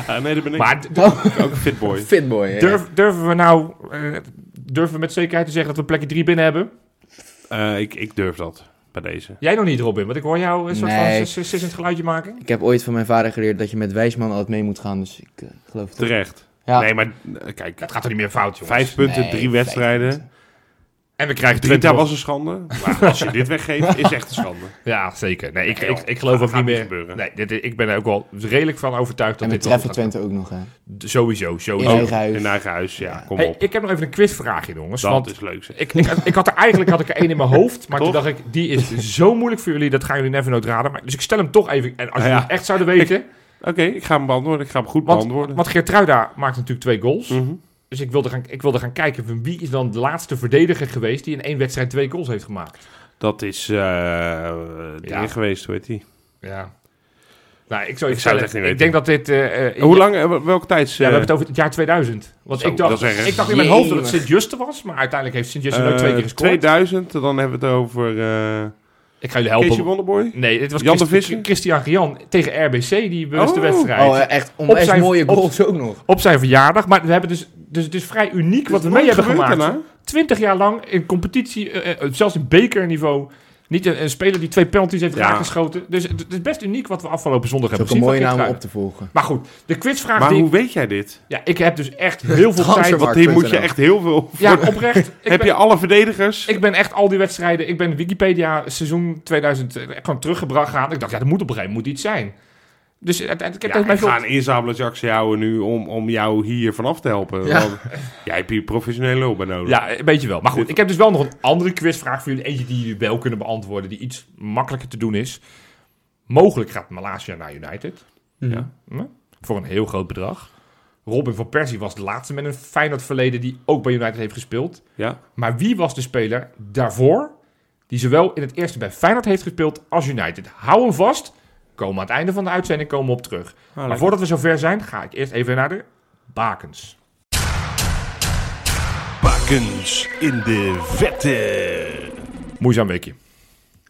D: Ah, nee, dat ben ik.
B: Maar d-
D: ook een fitboy.
C: fitboy, hè.
B: durf- durven we nou... eh, durven we met zekerheid te zeggen dat we plekje drie binnen hebben?
D: Eh, ik, ik durf dat bij deze.
B: Jij nog niet, Robin, want ik hoor jou een soort
C: Nee.
B: van sis- sissend geluidje maken.
C: Ik heb ooit van mijn vader geleerd dat je met wijsman altijd mee moet gaan, dus ik eh, geloof het.
D: Terecht.
C: Ja.
D: Nee, maar eh, kijk.
B: Het gaat er niet meer fout, jongens.
D: Vijf punten,
C: Nee,
D: drie
C: vijf
D: wedstrijden.
C: punten.
B: En we krijgen
D: Twente
B: Twente.
D: was een schande. Maar als je dit weggeeft, is echt een schande.
B: Ja, zeker. Nee, ik,
D: Nee,
B: ik,
D: joh.
B: ik geloof
D: Dat
B: ook
D: gaat
B: niet
D: niet
B: meer.
D: gebeuren.
B: nee, dit, ik ben er ook wel redelijk van overtuigd dat
C: En we
B: dit wel
C: treffen
B: gaat-
C: Twente ook nog, hè.
B: Sowieso,
C: In
B: sowieso.
C: eigen huis.
D: In eigen huis, ja, kom
B: Hey,
D: op.
B: ik heb nog even een quizvraagje, jongens.
D: Dat
B: want
D: is leuk. zeg.
B: ik, ik, ik had er eigenlijk had ik er één in mijn hoofd, maar toen
D: Toch?
B: dacht ik, die is [laughs] zo moeilijk voor jullie, dat gaan jullie never nooit raden. Maar, dus ik stel hem toch even, en als
D: Ja.
B: jullie het echt zouden weten,
D: Oké, ik ga hem beantwoorden. Ik ga hem goed
B: Want-
D: beantwoorden.
B: want Geertruida maakt natuurlijk twee goals.
D: Mhm.
B: Dus ik wilde, gaan, ik wilde gaan kijken van wie is dan de laatste verdediger geweest die in één wedstrijd twee goals heeft gemaakt.
D: Dat is eh
B: Ja.
D: ding geweest, hoe heet die?
B: Ja. Nou, ik zou je
D: Ik zou het
B: vertellen,
D: echt niet weten.
B: Ik denk dat dit... eh, eh,
D: Hoe lang, eh, welke tijds...
B: Ja, we hebben
D: eh,
B: het over het jaar 2000. Want
D: Zo,
B: ik dacht,
D: dat is erg.
B: ik dacht in mijn hoofd dat het
C: Jemig.
B: Sint-Juste was, maar uiteindelijk heeft Sint-Juste nooit dus twee
D: eh,
B: keer gescoord.
D: 2000, dan hebben we het over... eh
B: Ik ga jullie
D: Casey
B: helpen.
D: Wonderboy?
B: Nee, dit was
D: Jan de
B: Christi-
D: Visser?
B: Christian Gian tegen RBC, die bewuste
D: Oh.
B: wedstrijd.
C: Oh, eh, echt
B: Op
C: onwijs
B: zijn-
C: mooie
B: op-
C: goals ook nog.
B: Op zijn verjaardag. Maar we hebben dus, dus het is vrij uniek wat we mee
D: Nooit
B: hebben
D: gebeurd
B: gemaakt.
D: daarna?
B: Twintig jaar lang in competitie, eh, eh, zelfs in bekerniveau. Niet een, een speler die twee penalties heeft
D: Ja.
B: raakgeschoten. Dus het, het is best uniek wat we afgelopen zondag
C: Dat is
B: hebben
C: ook een
B: gezien.
C: mooie
B: van
C: naam om op
B: Kittrui.
C: te volgen.
B: Maar goed, de quizvraag
D: Maar
B: die...
D: hoe weet jij dit?
B: Ja, ik heb dus echt heel
D: [laughs]
B: veel tijd...
C: Transfermarkt.
D: Want hier moet je
C: Mark.nl.
D: echt heel veel... [laughs]
B: Ja, oprecht. Ik
D: heb
B: ben-
D: je alle verdedigers?
B: Ik ben echt al die wedstrijden. Ik ben Wikipedia seizoen 2000 eh, echt gewoon teruggebracht gaan. Ik dacht, ja, dat moet op een gegeven moment moet iets zijn. Dus uiteindelijk ik heb
D: Ja,
B: dat bij
D: ik
B: veel.
D: ga een inzamelingsactie houden nu om, om jou hier vanaf te helpen.
C: Ja.
D: Want jij hebt hier professionele hulp bij nodig.
B: Ja, een beetje wel. Maar goed, ik heb dus wel nog een andere quizvraag voor jullie. Eentje die jullie wel kunnen beantwoorden, die iets makkelijker te doen is. Mogelijk gaat Malaysia naar United.
C: Ja.
B: Hm? Voor een heel groot bedrag. Robin van Persie was de laatste met een Feyenoord verleden die ook bij United heeft gespeeld.
D: Ja?
B: Maar wie was de speler daarvoor die zowel in het eerste bij Feyenoord heeft gespeeld als United? Hou hem vast. Komen we aan het einde van de uitzending komen we op terug. maar
D: Ah,
B: voordat we zover zijn, ga ik eerst even naar de bakens.
E: Bakens in de vette.
B: Moeizaam weekje.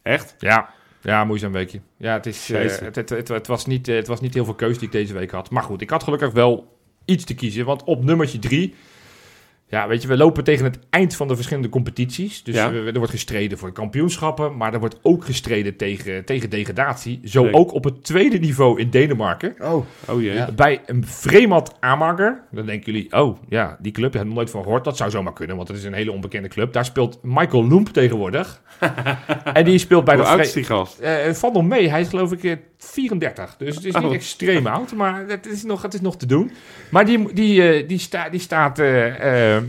D: Echt?
B: Ja, ja moeizaam weekje. Ja, het, is, eh,
D: Jeetje.
B: het, het, het, het was niet, eh, het was niet heel veel keus die ik deze week had. Maar goed, ik had gelukkig wel iets te kiezen. Want op nummertje drie... Ja, weet je, we lopen tegen het eind van de verschillende competities. Dus
D: Ja.
B: we- er wordt gestreden voor kampioenschappen. Maar er wordt ook gestreden tegen, tegen degradatie. Zo
D: Zeker.
B: ook op het tweede niveau in Denemarken.
C: Oh,
D: Oh jee.
C: Ja.
B: Bij een Fremad Amager, dan denken jullie, oh ja, die club, heb ik nog nooit van gehoord. Dat zou zomaar kunnen, want het is een hele onbekende club. Daar speelt Michael Loemp
D: [laughs]
B: tegenwoordig. en die speelt bij
D: Hoe
B: dat
D: oud
B: Vre-
D: is die gast?
B: eh, valt nog mee. Hij is geloof ik eh, 34. Dus het is niet
D: Oh.
B: extreem
D: [laughs]
B: oud, maar het is nog, het is nog te doen. Maar die, die, eh, die, sta, die staat eh, eh,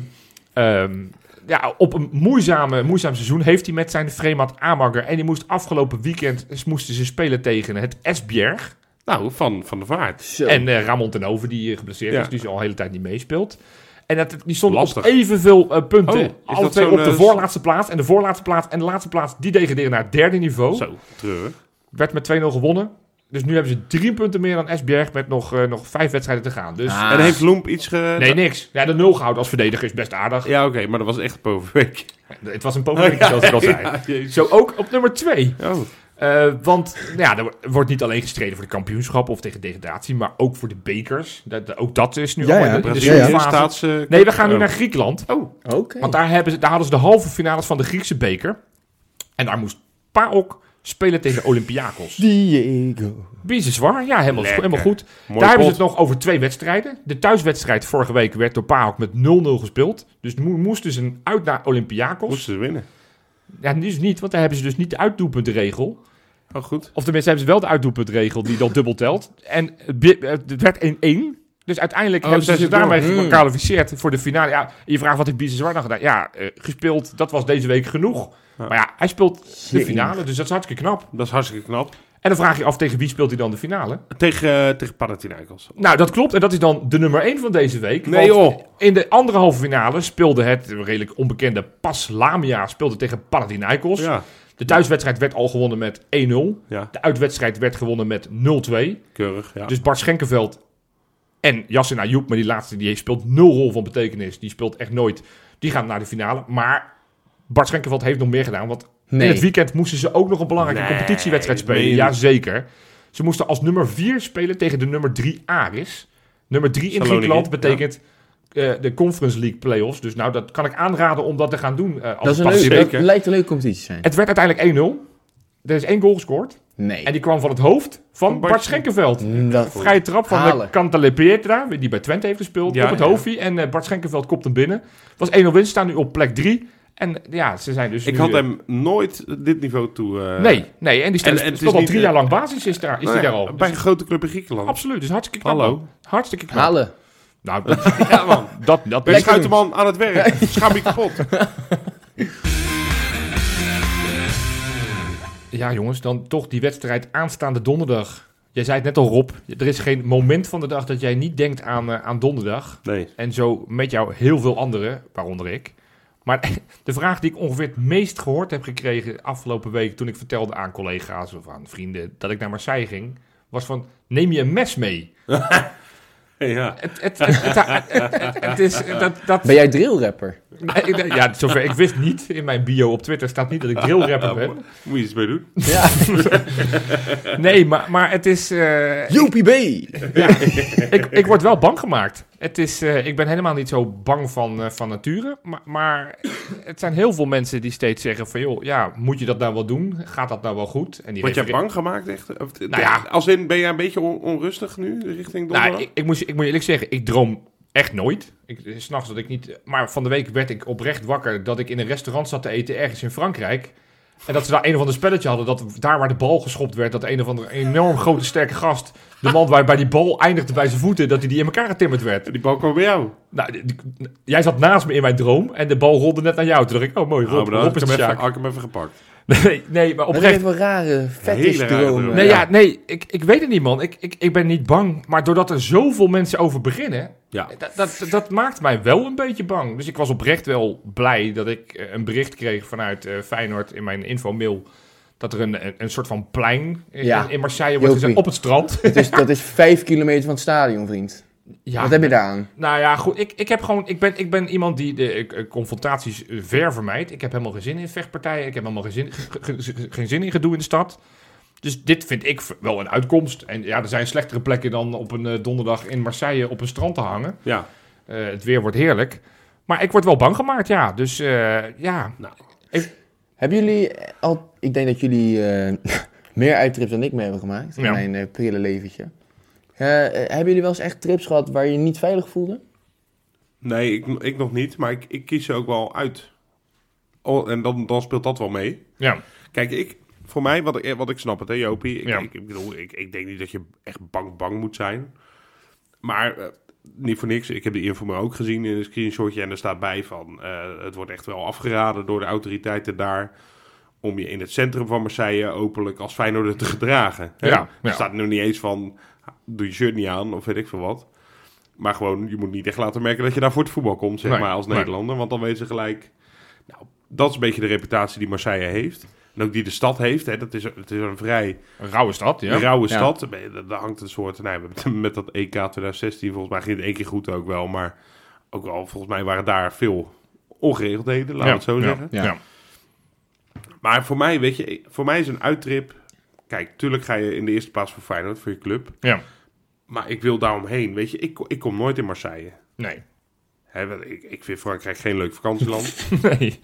B: ehm, ja, op een moeizame, moeizaam seizoen. Heeft hij met zijn Fremad Amager. En die moest afgelopen weekend eh, moesten ze spelen tegen het Esbjerg.
D: Nou, van, van de vaart.
C: zo.
B: En eh, Ramon ten Over, die eh, geblesseerd
D: Ja.
B: is, die ze al de hele tijd niet meespeelt. En dat, die stond op
D: Lastig.
B: evenveel eh, punten.
D: Oh, is
B: alle
D: dat
B: twee
D: zo'n,
B: op de
D: eh,
B: voorlaatste plaats. En de voorlaatste plaats en de laatste plaats, die degraderen naar het derde niveau.
D: Zo, treurig.
B: Werd met 2-0 gewonnen. Dus nu hebben ze drie punten meer dan Esbjerg met nog, eh, nog vijf wedstrijden te gaan. Dus
C: Ah.
D: En heeft Loemp iets ge...
B: nee, niks. Ja, de nul gehouden als verdediger is best aardig.
D: Ja, Oh, oké, maar dat was echt
B: [laughs]
D: Poverweek.
B: Het was een poging, zoals ik al
D: [laughs]
B: zei. Zo ook op nummer twee.
D: Oh,
B: Eh, want nou ja, er wo- wordt niet alleen gestreden voor de kampioenschap of tegen degradatie, maar ook voor de bekers. Dat, dat- ook dat is nu
C: Ja,
B: al
C: ja.
B: in de- in de
D: Brazilië
C: ja.
B: groepsfase.
D: staat ze...
B: Nee, we gaan nu
D: Oh.
B: naar Griekenland.
C: Oké.
B: Want daar, hebben ze, daar hadden ze de halve finales van de Griekse beker. En daar moest PAOK spelen tegen Olympiakos.
C: Diego.
B: Bizar zwaar. Ja, helemaal,
D: Lekker.
B: helemaal goed.
D: Mooi
B: daar hebben ze
D: pot.
B: het nog over twee wedstrijden. De thuiswedstrijd vorige week werd door PAOK met 0-0 gespeeld. Dus mo- moesten ze uit naar Olympiakos.
D: Moesten ze winnen.
B: Ja, nu is het niet, want daar hebben ze dus niet de uitdoelpuntregel.
D: Oh, goed.
B: Of tenminste hebben ze wel de uitdoelpuntregel die dan dubbel telt. En het bi- het werd 1-1. Dus uiteindelijk
D: Oh,
B: hebben ze
D: zijn
B: zich
D: ze door.
B: daarmee
D: Hmm.
B: gekwalificeerd voor de finale. Ja, je vraagt wat heeft Bizar dan gedaan? Ja, eh, gespeeld, dat was deze week genoeg.
D: Ja.
B: Maar ja, hij speelt de
C: Jee.
B: finale, dus dat is hartstikke knap.
D: Dat is hartstikke knap.
B: En dan vraag je af tegen wie speelt hij dan de finale?
D: Tegen, eh, tegen Panathinaikos.
B: Nou, dat klopt. En dat is dan de nummer 1 van deze week.
D: Nee,
B: want
D: joh.
B: In de andere halve finale speelde het redelijk onbekende Paslamia speelde tegen Panathinaikos.
D: Ja,
B: De thuiswedstrijd werd al gewonnen met 1-0.
D: ja.
B: De uitwedstrijd werd gewonnen met 0-2.
D: Keurig, ja.
B: Dus Bart Schenkenveld en Yassin Ayoub, maar die laatste die heeft- speelt nul rol van betekenis. Die speelt echt nooit. Die gaan naar de finale. Maar Bart Schenkenveld heeft nog meer gedaan. Want
C: Nee.
B: in het weekend moesten ze ook nog een belangrijke
D: Nee,
B: competitiewedstrijd spelen.
D: meen je niet.
B: Jazeker. Ze moesten als nummer 4 spelen tegen de nummer 3 Aris. Nummer 3 in
D: Saloniki,
B: Griekenland betekent eh, de Conference League playoffs. Dus nou, dat kan ik aanraden om dat te gaan doen. eh, als
C: Dat, is een
B: het
C: leuk,
B: past.
C: dat
D: zeker.
C: lijkt een leuke competitie te zijn.
B: Het werd uiteindelijk 1-0. Er is één goal gescoord.
C: Nee. Mm,
B: En die kwam van het hoofd van
D: Van
B: Bart,
D: Bart
B: Bart Schenkenveld.
C: Dat...
B: Vrije trap van
C: Halen.
B: de Cantale Pietra, die bij Twente heeft gespeeld,
D: Ja,
B: op het
D: ja.
B: hoofdje. En eh, Bart Schenkenveld kopt hem binnen. Het was 1-0 winst, staan nu op plek 3. En eh, ja, ze zijn dus
D: Ik
B: nu,
D: had
B: eh,
D: hem nooit dit niveau toe... eh,
B: Nee, nee, en die staat
D: en- en het
B: speelt
D: is
B: al
D: niet,
B: drie
D: eh,
B: jaar lang basis, is, daar, is
D: nou
B: hij
D: ja,
B: daar al.
D: Bij
B: Dus
D: een grote club in Griekenland.
B: absoluut, dus hartstikke knap.
D: Hallo.
B: man. Hartstikke knap.
C: Halen.
B: Nou,
D: Ja, man.
B: [laughs] dat, dat
D: Ben je
B: is...
C: Lekker
D: schuiterman aan het werk.
B: [laughs]
D: Schaam je kapot.
B: Ja jongens, dan toch die wedstrijd aanstaande donderdag. Jij zei het net al, Rob. Er is geen moment van de dag dat jij niet denkt aan, eh, aan donderdag.
D: Nee.
B: En zo met jou heel veel anderen, waaronder ik. Maar [laughs] de vraag die ik ongeveer het meest gehoord heb gekregen afgelopen week... toen ik vertelde aan collega's of aan vrienden dat ik naar Marseille ging... was van, neem je een mes mee?
D: Ja.
B: Het, het, het, het, het- het- het is... eh, Dat, dat,
C: Ben jij drillrapper?
B: ja, zover ik wist niet. In mijn bio op Twitter staat niet dat ik drillrapper ben.
D: Moet je iets mee doen?
C: Ja.
B: Nee, maar, maar het is... eh,
C: [laughs] Joepie B!
B: Ja, ik, ik word wel bang gemaakt. Het is, eh, ik ben helemaal niet zo bang van, eh, van nature. Maar, maar het zijn heel veel mensen die steeds zeggen van... joh, ja, moet je dat nou wel doen? Gaat dat nou wel goed? En die
D: Word jij
B: refereren-
D: bang gemaakt echt? Of-
B: Nou ja.
D: Als in, ben jij een beetje on- onrustig nu richting donderdag?
B: Nou, ik, ik, moet, je- ik moet je eerlijk zeggen, ik droom echt nooit. Ik, eh, s'nachts dat ik niet... Maar van de week werd ik oprecht wakker... dat ik in een restaurant zat te eten ergens in Frankrijk... En dat ze daar een of ander spelletje hadden, dat daar waar de bal geschopt werd, dat een of andere enorm grote sterke gast, de man waar bij die bal eindigde bij zijn voeten, dat hij die in elkaar getimmerd werd.
D: Die bal kwam bij jou.
B: Nou, d- d- jij zat naast me in mijn droom en de bal rolde net naar jou. Toen dacht ik, oh mooi,
D: Nou,
B: Rob,
D: maar dan
B: Rob
D: had
B: is
D: ik, hem
B: de
D: even,
B: sjaak.
D: had ik hem even gepakt.
B: [laughs] Nee, nee, maar
C: Maar dat
B: oprecht.
C: heeft wel rare fetish
D: Hele rare
C: dromen.
D: dromen.
B: Nee,
D: ja.
B: ja, nee ik, ik weet het niet, man. Ik, ik, ik ben niet bang. Maar doordat er zoveel mensen over beginnen, eh,
D: Ja.
B: dat, dat, dat maakt mij wel een beetje bang. Dus ik was oprecht wel blij dat ik eh, een bericht kreeg vanuit eh, Feyenoord in mijn infomail. Dat er een, een, een soort van plein in,
C: Ja.
B: in Marseille wordt
C: Jopie.
B: gezet op het strand.
C: Dat is, dat is vijf kilometer van het stadion, vriend.
B: Ja,
C: Wat heb je daaraan?
B: Nou ja, goed. Ik, ik, heb gewoon, ik, ben, ik ben iemand die de eh, confrontaties eh, ver vermijdt. Ik heb helemaal geen zin in vechtpartijen. Ik heb helemaal geen zin, ge- ge- ge- geen zin in gedoe in de stad. Dus dit vind ik v- wel een uitkomst. En ja, er zijn slechtere plekken dan op een eh, donderdag in Marseille op een strand te hangen.
D: Ja.
B: Eh, het weer wordt heerlijk. Maar ik word wel bang gemaakt, ja. Dus eh, ja.
C: Hebben jullie al... Ik denk dat jullie eh, [laughs] meer uittrips dan ik mee hebben gemaakt. In
B: Ja.
C: mijn eh, prille leventje. Eh, eh, hebben jullie wel eens echt trips gehad waar je je niet veilig voelde?
D: Nee, ik, ik nog niet, maar ik, ik kies ze ook wel uit. Oh, en dan, dan speelt dat wel mee.
B: Ja,
D: Kijk, ik, voor mij, wat ik, eh, wat ik snap het, hè, Jopie. Ik,
B: Ja.
D: ik, ik bedoel, ik, ik denk niet dat je echt bang bang moet zijn. Maar eh, niet voor niks. Ik heb die info maar ook gezien in een screenshotje. En er staat bij van, eh, het wordt echt wel afgeraden door de autoriteiten daar... om je in het centrum van Marseille openlijk als Feyenoorder te gedragen. hè.
B: Ja, ja.
D: Er staat nog niet eens van, doe je shirt niet aan of weet ik veel wat. Maar gewoon, je moet niet echt laten merken dat je daar voor het voetbal komt, zeg
B: Nee,
D: maar, als
B: nee.
D: Nederlander. Want dan weten ze gelijk... Nou, dat is een beetje de reputatie die Marseille heeft. En ook die de stad heeft. Hè. Dat is, het is een vrij
B: een rauwe stad, ja.
D: rauwe
C: Ja.
D: stad. Daar- Daar hangt een soort... Nou, ja, met, met dat EK 2016 volgens mij ging het één keer goed ook wel. Maar ook wel, volgens mij waren daar veel ongeregeldheden, laten we
B: Ja,
D: het zo
B: ja,
D: zeggen.
B: Ja.
C: Ja.
D: Maar voor mij, weet je, voor mij is een uittrip... Kijk, tuurlijk ga je in de eerste plaats voor Feyenoord, voor je club.
B: Ja.
D: Maar ik wil daaromheen, weet je. Ik, ik kom nooit in Marseille.
B: Nee. [laughs]
D: Hè, want ik, ik vind Frankrijk geen leuk vakantieland.
B: [laughs] nee.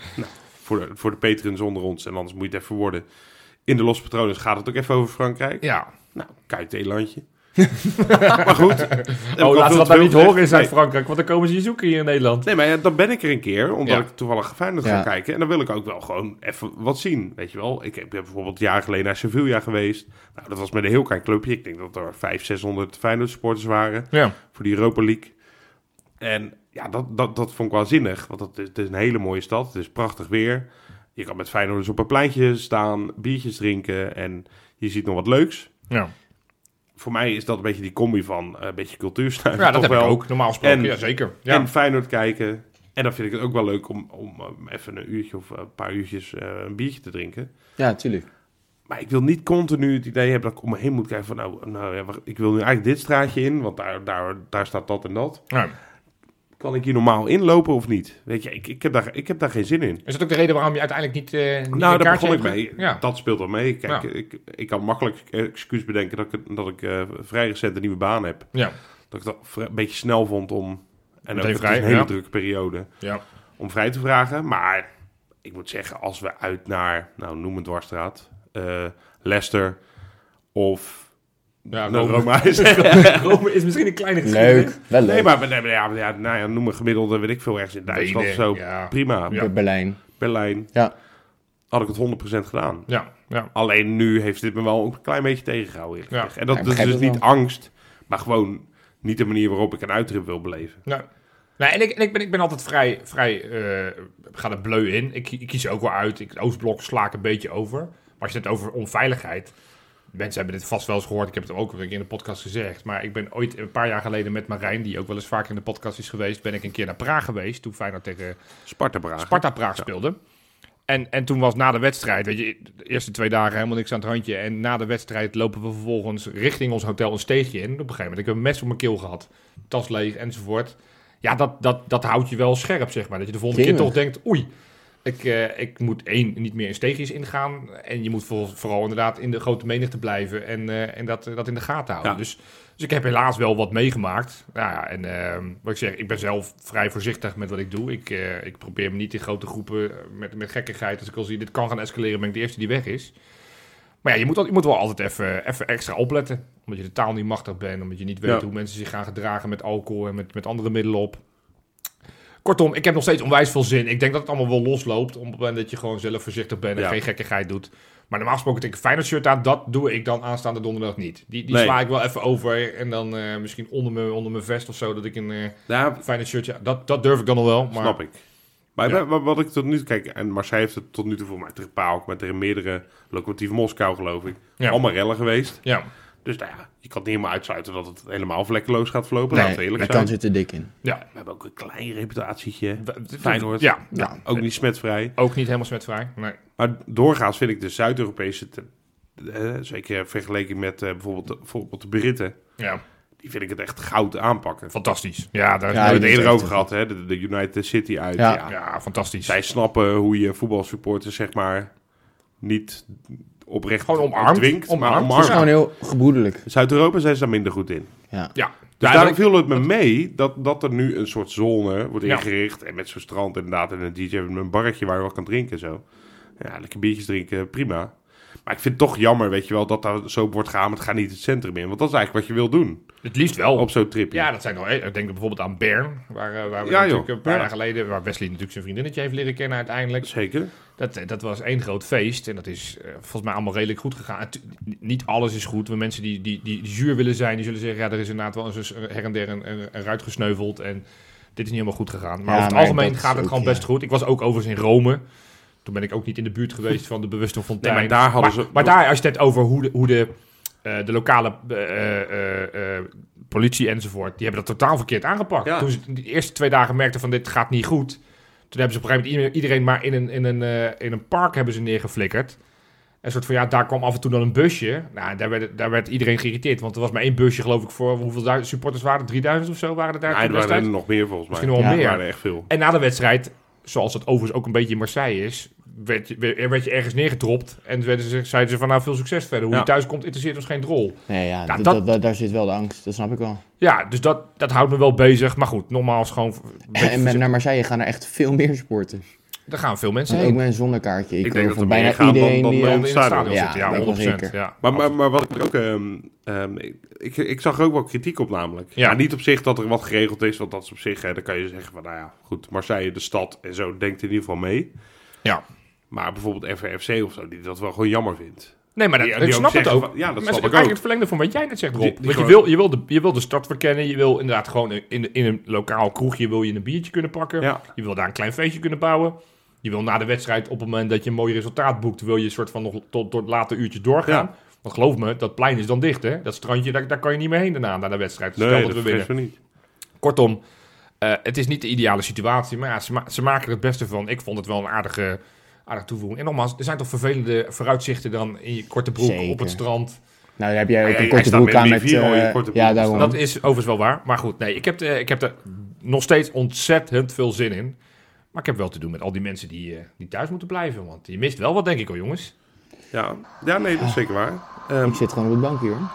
D: voor de, voor de patrons onder ons. En anders moet je het even worden. In de Los Patrones gaat het ook even over Frankrijk.
B: Ja.
D: Nou, kuitelandje. maar goed. heb ik al veel
B: Oh, laten we dat
D: te
B: nou
D: veel
B: niet
D: gezegd.
B: horen in
D: Nee,
B: Zuid-Frankrijk, want dan komen ze je zoeken hier in Nederland.
D: Nee, maar ja, dan ben ik er een keer, omdat
B: Ja.
D: ik toevallig Feyenoord
C: Ja.
D: ga kijken. En dan wil ik ook wel gewoon even wat zien, weet je wel. Ik heb- ik ben bijvoorbeeld jaren geleden naar Sevilla geweest. Nou, dat was met een heel klein clubje. Ik denk dat er 500, 600 Feyenoord supporters waren
B: Ja.
D: voor die Europa League. En ja, dat, dat, dat vond ik wel zinnig, want het is, het is een hele mooie stad. Het is prachtig weer. Je kan met Feyenoorders op een pleintje staan, biertjes drinken en je ziet nog wat leuks.
B: Ja.
D: Voor mij is dat een beetje die combi van eh, een beetje cultuursnuiven.
B: Ja, dat
D: toch
B: heb
D: wel.
B: ik ook. Normaal gesproken,
D: En-
B: ja, zeker. Ja.
D: En Feyenoord kijken. En dan vind ik het ook wel leuk om, om eh, even een uurtje of een paar uurtjes eh, een biertje te drinken.
C: Ja, tuurlijk.
D: Maar ik wil niet continu het idee hebben dat ik om me heen moet kijken van... Nou, nou ja, wacht, ik wil nu eigenlijk dit straatje in, want daar, daar, daar staat dat en dat.
B: Ja.
D: kan ik hier normaal inlopen of niet? Weet je, ik, ik, heb, daar, ik heb daar geen zin in.
B: Is dat ook de reden waarom je uiteindelijk niet, eh niet
D: Nou,
B: een
D: daar
B: kaartje
D: begon ik
B: hebt
D: mee.
B: ge- Ja.
D: Dat speelt wel mee. Kijk,
B: Ja.
D: ik, ik kan makkelijk excuus bedenken dat ik, dat ik eh, vrij recent een nieuwe baan heb.
B: ja.
D: Dat ik dat vri- een beetje snel vond om... En ook,
B: Meteen
D: het is
B: vrij,
D: een hele
B: ja.
D: drukke periode
B: Ja.
D: om vrij te vragen. Maar ik moet zeggen, als we uit naar, nou noem het dwarsstraat, eh Leicester of...
B: Ja,
D: Nou,
B: Rome.
D: Roma is
B: [laughs] Rome is misschien een kleine
C: Leuk. Wel
D: [laughs]
C: leuk.
D: Nee, maar nee, maar ja, ja, nou ja, noem een gemiddelde, weet ik veel, ergens in Duitsland of zo.
B: Wenen, ja.
D: Prima.
B: Ja.
C: Bij Berlijn.
D: Berlijn.
C: Ja.
D: Had ik het 100% gedaan.
B: Ja, ja.
D: Alleen nu heeft dit me wel een klein beetje tegengehouden. eerlijk
B: Ja.
D: gezegd. En dat,
C: Ja, ik
D: dat is
C: begrijp
D: dus
C: het
D: niet angst, maar gewoon niet de manier waarop ik een uittrip wil beleven.
B: Nou, nou, en ik, en ik, ben, ik ben altijd vrij, vrij eh, ga er bleu in. Ik, ik kies er ook wel uit. Ik, Oostblok sla ik een beetje over. Maar als je het hebt over onveiligheid, mensen hebben dit vast wel eens gehoord. Ik heb het ook een keer in de podcast gezegd. Maar ik ben ooit een paar jaar geleden met Marijn, die ook wel eens vaak in de podcast is geweest, ben ik een keer naar Praag geweest. Toen Feyenoord tegen
D: Sparta Braga.
B: Sparta Praag speelde. En, en toen was na de wedstrijd, weet je, de eerste twee dagen helemaal niks aan het handje. En na de wedstrijd lopen we vervolgens richting ons hotel een steegje in. Op een gegeven moment, ik heb een mes op mijn keel gehad, tas leeg enzovoort. Ja, dat, dat, dat houdt je wel scherp, zeg maar. Dat je de volgende keer
C: Jemig.
B: toch denkt, oei, ik, eh, ik moet één, niet meer in steegjes ingaan. En je moet voor- vooral inderdaad in de grote menigte blijven en, eh, en dat, dat in de gaten houden.
D: Ja.
B: Dus, dus ik heb helaas wel wat meegemaakt. Nou ja, en eh, wat ik zeg, ik ben zelf vrij voorzichtig met wat ik doe. Ik, eh, ik probeer me niet in grote groepen eh, met, met gekkigheid. Als ik al zie, dit kan gaan escaleren, ben ik de eerste die weg is. Maar ja, je moet, al, je moet wel altijd even, even extra opletten. Omdat je de taal niet machtig bent. Omdat je niet weet
D: Ja.
B: hoe mensen zich gaan gedragen met alcohol en met, met andere middelen op. Kortom, ik heb nog steeds onwijs veel zin. Ik denk dat het allemaal wel losloopt. Op het moment dat je gewoon zelf voorzichtig bent en
D: Ja.
B: geen gekkigheid doet. Maar normaal gesproken denk ik een Feyenoord shirt aan. Dat doe ik dan aanstaande donderdag niet. Die, die
D: Nee.
B: sla ik wel even over. En dan eh, misschien onder mijn, onder mijn vest of zo. Dat ik een eh
D: Ja,
B: Feyenoord shirtje... Dat, dat durf ik dan nog wel. Maar
D: snap ik. Maar
B: Ja.
D: wa- wat ik tot nu toe... Kijk, en Marseille heeft het tot nu toe voor mij tegen Paok... maar tegen meerdere locomotief Moskou, geloof ik.
B: Ja.
D: Allemaal rellen geweest.
B: Ja,
D: Dus nou ja, je kan niet helemaal uitsluiten dat het helemaal vlekkeloos gaat verlopen.
C: Nee,
D: laten we eerlijk
C: die
D: zijn.
C: kans zit er dik in.
B: ja.
D: We hebben ook een klein reputatietje.
B: We-
D: Feyenoord.
B: Ja,
C: Ja.
D: Ook niet smetvrij.
B: ook niet helemaal smetvrij. Nee.
D: Maar doorgaans vind ik de Zuid-Europese, te- eh, zeker vergeleken met eh, bijvoorbeeld, de, bijvoorbeeld de Britten,
B: Ja,
D: die vind ik het echt goud aanpakken. We
B: fantastisch. Ja, daar
D: hebben we
C: Ja, die
D: het
C: is
D: eerder
C: echt
D: over
C: een-
D: gehad, hè? De, de United City uit. Ja.
C: Ja.
B: ja, fantastisch.
D: Zij snappen hoe je voetbalsupporters, zeg maar, niet oprecht
B: Gewoon omarmt,
D: dwingt, maar
B: omarmt.
C: Het is
D: omarmt.
C: gewoon heel gebroedelijk.
D: Zuid-Europa zijn ze daar minder goed in.
C: Ja.
B: Ja,
D: Dus
B: Ja,
D: daarom
B: dat-
D: viel het me mee dat, dat er nu een soort zone wordt
B: Ja.
D: ingericht. En met zo'n strand inderdaad. En een DJ met een barretje waar je wat kan drinken en zo. Ja, lekker biertjes drinken, prima. Maar ik vind het toch jammer, weet je wel, dat daar zo op wordt gehamerd. Ga niet het centrum in. Want dat is eigenlijk wat je wil doen
B: het liefst wel.
D: op zo'n tripje.
B: Ja, dat zijn wel. Ik denk bijvoorbeeld aan Bern, waar, eh, waar we
D: Ja,
B: natuurlijk
D: joh.
B: een paar
D: Ja.
B: jaar geleden, waar Wesley natuurlijk zijn vriendinnetje heeft leren kennen uiteindelijk.
D: Zeker.
B: Dat, eh, dat was één groot feest en dat is eh, volgens mij allemaal redelijk goed gegaan. Het- niet alles is goed. We mensen die, die, die zuur willen zijn, die zullen zeggen, ja, er is inderdaad wel eens een- her en der een, een, een ruit gesneuveld en dit is niet helemaal goed gegaan. Maar
C: Ja,
B: over het
C: maar
B: algemeen
C: dat
B: gaat
C: is
B: het
C: ook,
B: gewoon
C: ja.
B: best goed. Ik was ook overigens in Rome. Toen ben ik ook niet in de buurt geweest van de bewuste fontein.
D: Nee, maar daar hadden
B: maar,
D: ze-
B: maar daar, als je het hebt over hoe de, hoe de, eh, de lokale eh, eh, eh, politie enzovoort, die hebben dat totaal verkeerd aangepakt.
D: Ja.
B: Toen ze de eerste twee dagen merkten van dit gaat niet goed, toen hebben ze op een gegeven moment ieder- iedereen maar in een, in een, eh, in een park hebben ze neergeflikkerd. Een soort van, ja, daar kwam af en toe dan een busje. Nou, daar werd, daar werd iedereen geïrriteerd, want er was maar één busje, geloof ik, voor hoeveel duizend supporters waren er? 3000 of zo waren er daar
D: Nee,
B: toen
D: er waren er
B: destijds?
D: nog meer volgens mij.
B: Misschien nog wel
C: Ja,
B: meer.
D: Er waren er echt veel.
B: En na de wedstrijd, zoals dat overigens ook een beetje in Marseille is, werd je, werd werd je ergens neergedropt. En werden ze, zeiden ze van nou veel succes verder. Hoe
D: Ja.
B: je thuis komt, interesseert ons geen drol.
C: Nee, ja,
B: Ja,
C: dat-
B: dat-
C: dat- dat- daar zit wel de angst. Dat snap ik wel.
B: Ja, dus dat, dat houdt me wel bezig. Maar goed, nogmaals, gewoon. een beetje
C: En met,
B: voorzichtig.
C: naar Marseille gaan er echt veel meer supporters.
B: Daar gaan veel mensen
C: Want
B: heen.
C: ook met een zonnekaartje. Ik,
D: Ik denk
C: denk
D: dat
C: van
D: er meer
C: bijna
D: gaan dan-
C: iedereen
D: dan-
C: die...
B: Die
D: dan-
C: eh,
B: in het
D: stadion
B: stadion
C: zitten.
B: zitten,
C: Ja,
B: ja,
C: dat wel
B: 100%.
C: zeker.
B: Ja.
D: Maar, maar, maar wat ik ook... ehm, ehm, ik, ik zag er ook wel kritiek op namelijk.
B: Ja.
D: Ja. niet op zich dat er wat geregeld is. Want dat is op zich, hè, dan kan je zeggen van... Nou ja, goed, Marseille, de stad en zo, denkt in ieder geval mee.
B: Ja.
D: Maar bijvoorbeeld FVFC of zo, die dat wel gewoon jammer vindt.
B: Nee, maar dat,
D: Ja,
B: ik
D: die ook
B: snap het
D: zeggen
B: ook.
D: van- ja, dat
B: Maar
D: snap
B: het
D: ik
B: is eigenlijk
D: ook.
B: het verlengde van wat jij net zegt, Rob.
D: Die- die
B: Want je
D: gewoon-
B: wil, je, wil de, je wil de stad verkennen. Je wil inderdaad gewoon in, in een lokaal kroegje wil je een biertje kunnen pakken.
D: Ja.
B: Je wil daar een klein feestje kunnen bouwen. Je wil na de wedstrijd, op het moment dat je een mooi resultaat boekt... wil je een soort van nog tot, tot later uurtje doorgaan. Want geloof me, dat plein is dan dicht, hè? Dat strandje, daar, daar kan je niet meer heen daarna, na de wedstrijd.
D: Nee,
B: Stel dat
D: Dus dat
B: we
D: vergeten
B: winnen.
D: we niet.
B: Kortom, eh, het is niet de ideale situatie, maar ja, ze, ma- ze maken er het beste van. Ik vond het wel een aardige, aardige toevoeging. En nogmaals, er zijn toch vervelende vooruitzichten dan in je korte broek
C: Zeker.
B: op het strand.
C: Nou, daar heb jij ook
D: Hij-
C: een
D: hij
C: korte
D: staat
C: broek
D: met
C: aan met...
D: Mivier al in
C: eh,
D: je korte broek.
C: Ja, daarom.
B: Dat is overigens wel waar, maar goed, nee, ik heb, de, ik heb er nog steeds ontzettend veel zin in. Maar ik heb wel te doen met al die mensen die, eh, die thuis moeten blijven, want je mist wel wat, denk ik hoor, jongens.
D: Ja. ja, nee, dat is zeker waar. Ehm,
C: Ik zit gewoon op het bankje, [laughs] hoor.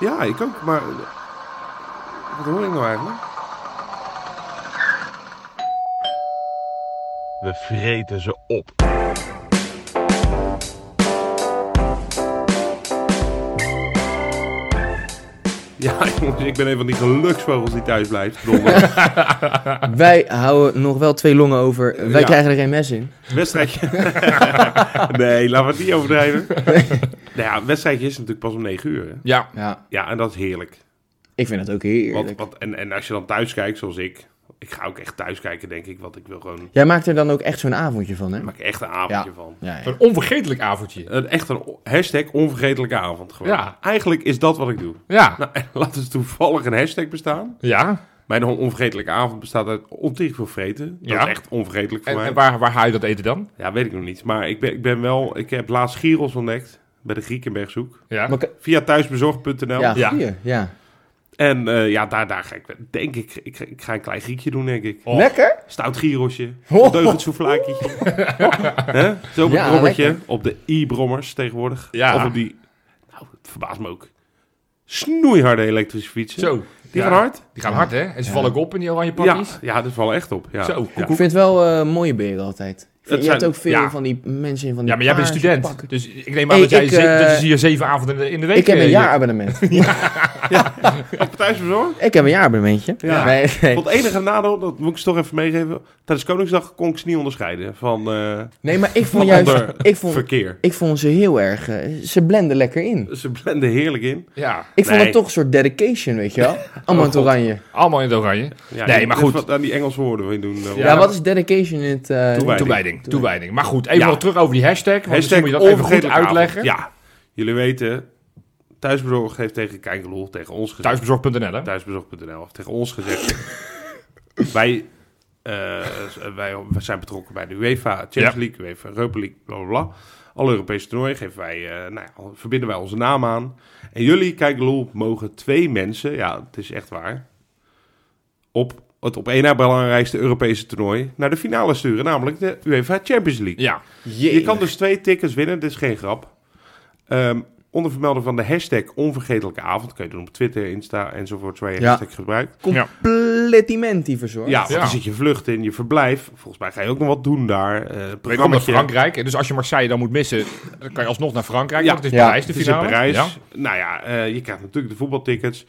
D: ja, ik ook, maar... Wat hoor ik nou eigenlijk?
E: We vreten ze op.
D: Ja, [laughs] jongens, ik ben een van die geluksvogels die thuis blijft. Donder.
C: Wij houden nog wel twee longen over. Wij
D: Ja.
C: krijgen er geen mes in. [laughs]
D: Wedstrijdje. nee, laten we het niet overdrijven. nou ja, een wedstrijdje is natuurlijk pas om 9 uur. Hè?
B: Ja,
C: Ja,
D: Ja, en dat is heerlijk.
C: ik vind het ook
D: Want,
C: heerlijk.
D: want, en, en als je dan thuis kijkt, zoals ik, Ik ga ook echt thuis kijken, denk ik. Want ik wil gewoon...
C: Jij maakt er dan ook echt zo'n avondje van, hè?
D: Ik maak echt een avondje van.
C: Ja, ja.
B: Een onvergetelijk avondje.
D: Een, echt een o- hashtag onvergetelijke avond gewoon.
B: Ja.
D: Eigenlijk is dat wat ik doe. [laughs]
B: Ja.
D: Nou, en laat er toevallig een hashtag bestaan.
B: Ja.
D: Mijn on- onvergetelijke avond bestaat uit ontiegelijk veel vreten. Dat
B: Ja.
D: is echt onvergetelijk voor
B: En,
D: mij.
B: en waar, waar haal je dat eten dan?
D: Ja, weet ik nog niet. Maar ik ben, ik ben wel... Ik heb laatst Gyros ontdekt bij de Griekenbergzoek.
B: Ja.
C: Maar, k-
D: Via thuisbezorgd.nl.
C: ja,
B: Ja.
C: goeie, ja.
D: En eh, ja, daar, daar ga ik... Denk ik, ik... ik ga een klein Griekje doen, denk ik.
B: Oh.
C: Lekker?
D: Stout
B: [laughs]
D: Gyrosje.
C: Oh.
D: Deugend soeflaakje. Hè? Zo'n
C: Ja,
D: brommertje.
C: lekker.
D: Op de i-brommers tegenwoordig.
B: Ja.
D: Of op die... Nou, het verbaast me ook. Snoeiharde elektrische fietsen.
B: Zo.
D: Die
B: Ja.
D: gaan hard.
B: Die gaan hard, hè? En ze vallen ook op in die oranje
D: Ja,
B: pakjes.
D: ja, dat valt echt op. Ja.
B: Zo.
D: Ja.
B: koekoek.
C: Ik vind het wel eh, mooie beren altijd. Ik vind-
D: Het
C: je
D: zijn-
C: hebt ook veel
D: ja.
C: van die mensen in van die
B: Ja, maar jij bent
C: paarse
B: student.
C: pakken.
B: Dus ik neem aan
C: Hey,
B: dat, jij
C: ik,
B: ze-
C: eh,
B: dat je hier zeven avonden in de- in de week...
C: Ik heb
B: eh,
C: een
B: hier-
C: jaarabonnement.
D: Thuisbezorgd.
C: ik heb een jaarabonnementje.
D: Ja.
C: Nee, nee.
D: Want het enige nadeel, dat moet ik ze toch even meegeven. Tijdens Koningsdag kon ik ze niet onderscheiden van eh,
C: nee, maar ik vond
D: Van
C: juist...
D: ander
C: Ik vond,
D: verkeer.
C: ik vond ze heel erg... eh, ze blenden lekker in.
D: Ze blenden heerlijk in.
B: Ja,
C: Ik vond
D: Nee.
C: het toch een soort dedication, weet je wel? Allemaal in het
D: God.
C: oranje.
B: allemaal in het oranje.
D: Ja,
B: Nee,
D: dit-
B: maar
D: dit
B: goed.
D: Wat aan die Engelse woorden wil je doen. eh,
B: Ja.
C: Ja, wat is dedication in het... eh,
D: Toewijding.
B: Toewijding, toewijding. Maar goed, even
D: Ja.
B: nog terug over die hashtag. Want
D: Hashtag
B: misschien moet je dat even goed
D: onvergetelijke
B: uitleggen.
D: avond. Ja, jullie weten, thuisbezorgd heeft tegen Kijkeloel, tegen ons gezegd,
B: Thuisbezorgd.nl, hè?
D: thuisbezorgd.nl, heeft tegen ons gezegd. [laughs] wij, eh, wij, wij zijn betrokken bij de UEFA, Champions
B: Ja.
D: League, UEFA, Europa League, bla bla bla. Alle Europese toernooien geven wij, eh, nou ja, verbinden wij onze naam aan. En jullie, Kijkeloel, mogen twee mensen, ja, het is echt waar, op het op één na belangrijkste Europese toernooi naar de finale sturen, namelijk de UEFA Champions League.
B: Ja,
D: Je kan dus twee tickets winnen, dit is geen grap. Ehm onder vermelding van de hashtag onvergetelijke avond. Kun je doen op Twitter, Insta enzovoort, waar je
C: Ja.
D: hashtag gebruikt.
C: Completimenti verzorgd.
D: Ja, want
B: Ja.
D: dan zit je vlucht in, je verblijf. Volgens mij ga je ook nog wat doen daar. Eh
B: je komt naar
D: programmaatje.
B: Frankrijk. Dus als je Marseille dan moet missen, dan kan je alsnog naar Frankrijk.
D: Ja.
B: want het is
C: Ja.
B: Parijs, de
D: Het is in
B: finale.
D: Parijs.
B: Ja.
D: Nou ja, eh, je krijgt natuurlijk de voetbaltickets.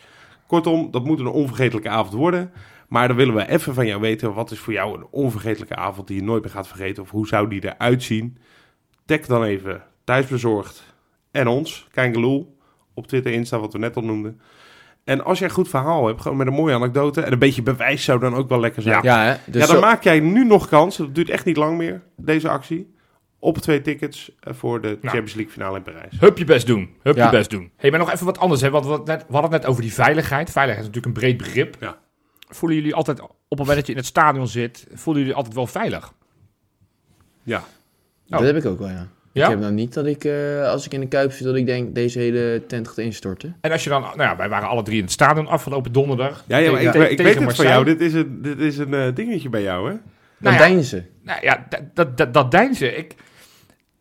D: Kortom, dat moet een onvergetelijke avond worden. Maar dan willen we even van jou weten, wat is voor jou een onvergetelijke avond die je nooit meer gaat vergeten? Of hoe zou die eruit zien? Tag dan even thuisbezorgd en ons, Kijngeloel, op Twitter, Insta, wat we net al noemden. En als jij een goed verhaal hebt, gewoon met een mooie anekdote en een beetje bewijs zou dan ook wel lekker zijn.
C: Ja, hè? Dus
D: ja, dan
C: zo-
D: maak jij nu nog kans, dat duurt echt niet lang meer, deze actie, op twee tickets eh, voor de Champions League finale in Parijs.
B: Hup je best doen. Hup
C: Ja.
B: je best doen. hey, maar nog even wat anders. Hè? Want we hadden, het net, we hadden het net over die veiligheid. Veiligheid is natuurlijk een breed begrip.
D: Ja.
B: Voelen jullie altijd, op het moment dat je in het stadion zit, voelen jullie altijd wel veilig?
D: Ja.
B: Oh.
C: Dat heb ik ook wel, ja.
B: Ja?
C: Ik heb nou niet dat ik, eh, als ik in de Kuip zit, dat ik denk, deze hele tent gaat instorten.
B: En als je dan, nou ja, wij waren alle drie in het stadion afgelopen donderdag.
D: Ja, ja maar ik,
B: Tegen-
D: ik
B: tegen
D: weet het van
B: Marseille.
D: jou. Dit is een, dit is een eh, dingetje bij jou, hè?
C: Dan
B: Nou ja.
C: deinen ze.
B: Nou ja, dat, dat, dat, dat deinzen. Ik,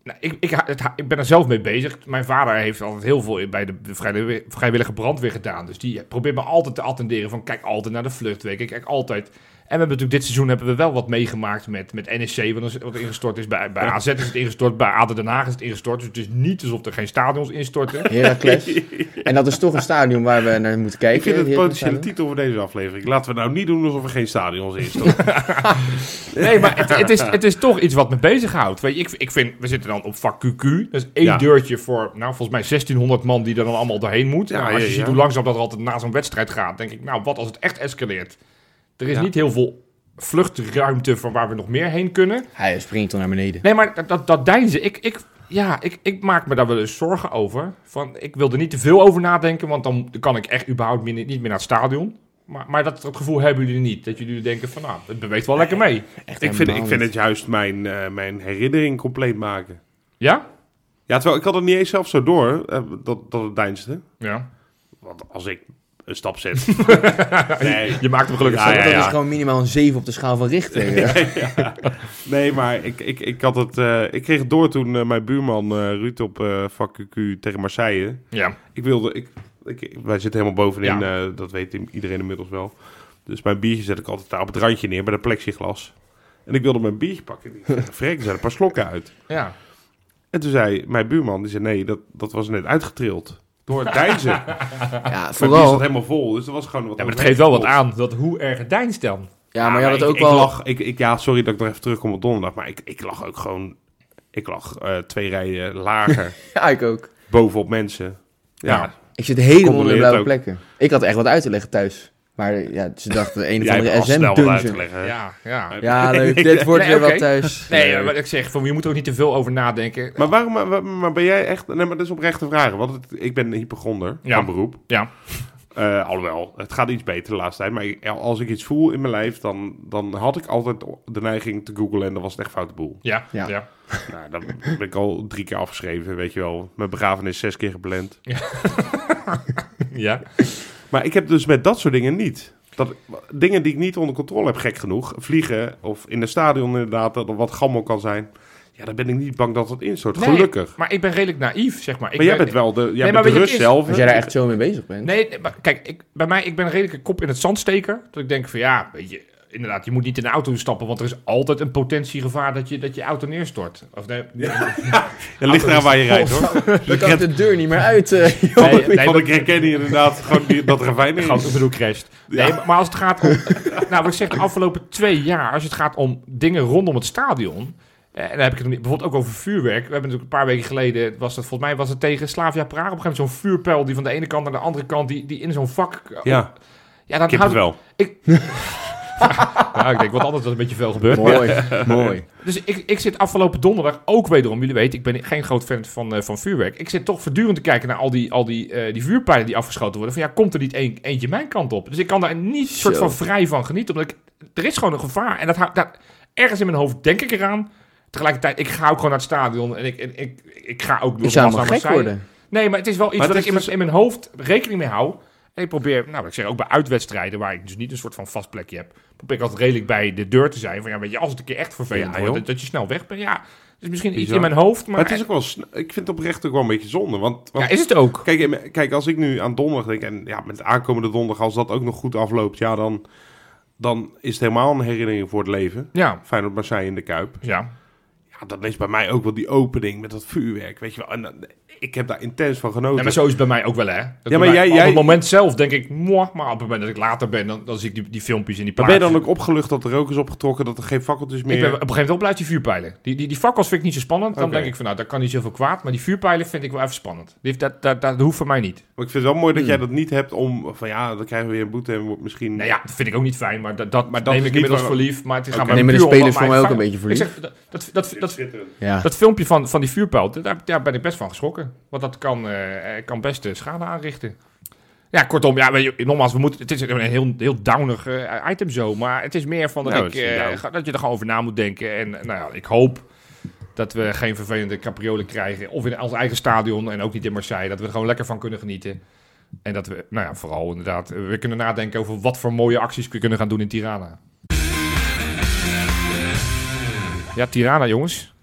B: nou, ik, ik, ha- het ha- ik ben er zelf mee bezig. Mijn vader heeft altijd heel veel in- bij de vrijwillige- vrijwillige brandweer gedaan. Dus die probeert me altijd te attenderen van kijk altijd naar de vluchtweek. Ik kijk altijd... En we hebben natuurlijk dit seizoen hebben we wel wat meegemaakt met, met NEC, wat, is- wat ingestort is. Bij, bij AZ is het ingestort, bij ADO Den Haag is het ingestort. Dus het is niet alsof er geen stadions instorten.
D: [laughs]
C: Heracles. en dat is toch een stadion waar we naar moeten kijken.
D: Ik vind het een
C: Heracles
D: potentiële
C: stadion.
D: titel voor deze aflevering. Laten we nou niet doen alsof er geen stadions in
C: [laughs]
D: staan.
B: Nee, maar het, het, is, het is toch iets wat me bezighoudt. Weet je, ik, ik vind, we zitten dan op vak QQ. Dat is één
D: Ja.
B: deurtje voor, nou, volgens mij 1600 man die er dan allemaal doorheen moet.
D: Ja,
B: nou, als je
D: ja,
B: ziet
D: ja.
B: hoe langzaam dat er altijd na zo'n wedstrijd gaat, denk ik, nou, wat als het echt escaleert? Er is
D: Ja.
B: niet heel veel vluchtruimte van waar we nog meer heen kunnen.
C: Hij springt al naar beneden.
B: Nee, maar dat, dat, dat deinzen. Ik, ik, ja, ik, ik maak me daar wel eens zorgen over. Van, ik wil er niet te veel over nadenken, want dan kan ik echt überhaupt meer- niet meer naar het stadion. Maar, maar dat, dat gevoel hebben jullie niet. Dat jullie denken van, nou, het beweegt wel lekker mee.
C: Echt
D: ik, vind, ik
C: helemaal
D: vind
C: niet.
D: het juist mijn, eh, mijn herinnering compleet maken.
B: Ja?
D: Ja, terwijl ik had het niet eens zelf zo door, eh, dat, dat het deinste.
B: Ja.
D: Want als ik een stap zet...
C: [laughs]
D: [laughs] nee,
B: Je maakt hem gelukkig
D: Ja,
B: zelf.
D: ja,
C: Dat
D: ja.
C: is dus gewoon minimaal een 7 op de schaal van Richter. Ja.
D: [laughs] nee, maar ik, ik, ik, had het, eh, ik kreeg het door toen eh, mijn buurman eh, Ruud op eh vak QQ tegen Marseille...
B: Ja.
D: Ik wilde... Ik, ik, wij zitten helemaal bovenin, eh, dat weet iedereen inmiddels wel. Dus mijn biertje zet ik altijd daar op het randje neer, bij dat plexiglas. En ik wilde mijn biertje pakken. Ik
C: [laughs]
D: zei, Freek, er zijn een paar slokken uit.
B: ja.
D: En toen zei mijn buurman, die zei, nee, dat, dat was net uitgetrild. Door het deinzen.
C: [laughs]
D: Mijn bier
C: Ja,
D: zat
C: vooral.
D: helemaal vol, dus dat was gewoon wat
B: maar het
D: overheen
B: geeft wel wat
D: gekopt.
B: aan dat hoe erg het deinst dan.
C: Ja, maar je had het
D: Ah, ik-
C: ook
D: ik
C: wel.
D: lag- ik, ik, ja, sorry dat ik nog even terugkom op donderdag, maar ik, ik lag ook gewoon... Ik lag eh, twee rijen
C: [laughs]
D: lager
C: Ja, ik ook.
D: bovenop mensen. Ja,
B: Ja.
C: Ik zit helemaal in de
D: Condoleert
C: blauwe
D: ook.
C: plekken. Ik had echt wat uit te leggen thuis. Maar ja, ze dachten een of
D: Jij hebt
C: andere
D: al snel wat
C: SM-dungeon.
D: uitgelegd, hè?
B: Ja, ja.
D: [laughs]
C: Ja, leuk. Dit wordt
B: Nee,
C: weer
B: oké.
C: wat thuis.
B: Nee, maar ik zeg, van, je moet er ook niet te veel over nadenken.
D: Maar waarom maar- maar, maar ben jij echt... Nee, maar dat is oprechte vragen. Want het- ik ben een hypochonder
B: Ja.
D: van beroep.
B: Ja,
D: Eh, alhoewel, het gaat iets beter de laatste tijd. Maar ik- als ik iets voel in mijn lijf, dan, dan had ik altijd de neiging te googlen en dan was het echt foute boel.
B: ja, ja.
C: Ja.
D: nou, dan ben ik al drie keer afgeschreven, weet je wel. Mijn begrafenis zes keer gepland.
B: [laughs] ja.
D: Maar ik heb dus met dat soort dingen niet. Dat, dingen die ik niet onder controle heb, gek genoeg. Vliegen of in een stadion inderdaad, dat er wat gammel kan zijn. Ja, dan ben ik niet bang dat het instort.
B: Nee,
D: Gelukkig.
B: Maar ik ben redelijk naïef, zeg maar. Ik
D: maar jij
B: ben-
D: bent wel de, jij
B: maar
D: bent de
B: weet je,
D: rust
B: het is-
D: zelf.
C: Als jij daar echt zo mee bezig bent.
B: Nee, nee, maar kijk, ik, bij mij, ik ben redelijk een kop in het zand steken. Dat ik denk van ja, weet je, inderdaad, je moet niet in de auto stappen, want er is altijd een potentiegevaar dat je, dat je auto neerstort.
D: [laughs]
B: Of nee,
D: Het ligt eraan waar je rijdt, hoor.
C: Dan kan ik de deur niet meer
D: [laughs]
C: uit. eh, joh.
B: nee, nee,
D: Want
B: dat-
D: ik herken hier inderdaad gewoon die, dat ravijn in.
B: Gewoon, ik bedoel, crasht. Nee, maar maar als het gaat om... [laughs] nou, wat ik zeg, de afgelopen twee jaar... als het gaat om dingen rondom het stadion... eh, En dan heb ik het nog niet, bijvoorbeeld ook over vuurwerk. We hebben natuurlijk een paar weken geleden, was dat, volgens mij was het tegen Slavia Praag. Op een gegeven moment zo'n vuurpijl die van de ene kant naar de andere kant, die, die in zo'n vak...
D: Ja,
B: ja dan houdt-
D: kippenvel.
B: Ja, ik denk, wat anders was een beetje veel gebeurd.
C: mooi,
D: [laughs]
C: mooi.
B: Dus ik, ik zit afgelopen donderdag ook wederom. Jullie weten, ik ben geen groot fan van, eh, van vuurwerk. Ik zit toch voortdurend te kijken naar al die, al die, eh, die vuurpijlen die afgeschoten worden. Van ja, komt er niet een, eentje mijn kant op? Dus ik kan daar niet soort
C: Zo.
B: van vrij van genieten. Omdat ik, er is gewoon een gevaar. En dat, hou- dat, ergens in mijn hoofd denk ik eraan. Tegelijkertijd, ik ga ook gewoon naar het stadion. En ik, en ik, ik ga ook...
C: Ik zou
B: nogmaals
C: maar
B: naar
C: gek
B: Marseille.
C: worden.
B: Nee, maar het is wel iets
D: Maar
B: wat
D: het is
B: ik in, mijn,
D: dus-
B: in mijn hoofd rekening mee hou. En ik probeer, nou, wat ik zeg ook bij uitwedstrijden, waar ik dus niet een soort van vast plekje heb, probeer ik altijd redelijk bij de deur te zijn. Van ja, weet je, als het een keer echt vervelend
D: Ja,
B: wordt,
D: joh.
B: dat, dat je snel weg bent. Ja, dus misschien iets
D: Bizar.
B: in mijn hoofd, maar,
D: Maar het is ook wel, sn- ik vind het oprecht ook wel een beetje zonde. Want, want
B: ja, is het ook.
D: kijk, in- kijk, als ik nu aan donderdag denk, en ja, met aankomende donderdag, als dat ook nog goed afloopt, ja, dan, dan is het helemaal een herinnering voor het leven.
B: Ja,
D: Feyenoord Marseille in de Kuip.
B: ja,
D: Ja, dan is bij mij ook wel die opening met dat vuurwerk, weet je wel. En dan- ik heb daar intens van genoten.
B: Ja, maar zo is het bij mij ook wel, hè. Dat
D: Ja, maar
B: bij mij-
D: jij-
B: Op
D: jij-
B: het moment zelf denk ik, moah, maar op het moment dat ik later ben, dan, dan zie ik die, die filmpjes en die
D: maar ben je
B: plaatjes.
D: dan ook opgelucht dat de rook is opgetrokken, dat er geen fakkeltjes meer...
B: Ik ben op een gegeven moment opblijft die vuurpijlen. Die, die, die fakkels vind ik niet zo spannend. Dan
D: Oké.
B: denk ik van, nou, dat kan niet zoveel kwaad. Maar die vuurpijlen vind ik wel even spannend. Die, dat, dat, dat hoeft voor mij niet.
D: Maar ik vind het wel mooi dat jij dat niet hebt om van ja, dan krijgen we weer een boete en wordt misschien...
B: Hmm. Nou ja, dat vind ik ook niet fijn, maar dat, dat,
D: Maar dat
B: neem
D: is
B: ik
D: niet
B: inmiddels voor
D: waar-
B: lief. Maar het is
D: Oké.
B: gaat mij
C: Nemen de
B: puur om
C: spelers
B: wat
C: voor mij ook
B: fijn-
C: een beetje voor
B: Ik
C: lief?
B: zeg, dat, dat, dat, dat,
C: Ja.
B: dat filmpje van, van die vuurpijl, daar, daar ben ik best van geschrokken. Want dat kan, eh, eh, kan best eh, schade aanrichten. Ja, kortom, ja, weet je, nogmaals, we moeten, het is een heel, heel downig eh, item zo. Maar het is meer van dat,
D: Nou,
B: ik,
D: het is een
B: eh,
D: down.
B: ga- dat je er gewoon over na moet denken. En eh, nou ja, ik hoop dat we geen vervelende capriolen krijgen. Of in ons eigen stadion en ook niet in Marseille. Dat we er gewoon lekker van kunnen genieten. En dat we, nou ja, vooral inderdaad, eh, we kunnen nadenken over wat voor mooie acties we kunnen gaan doen in Tirana. Ja, Tirana, jongens.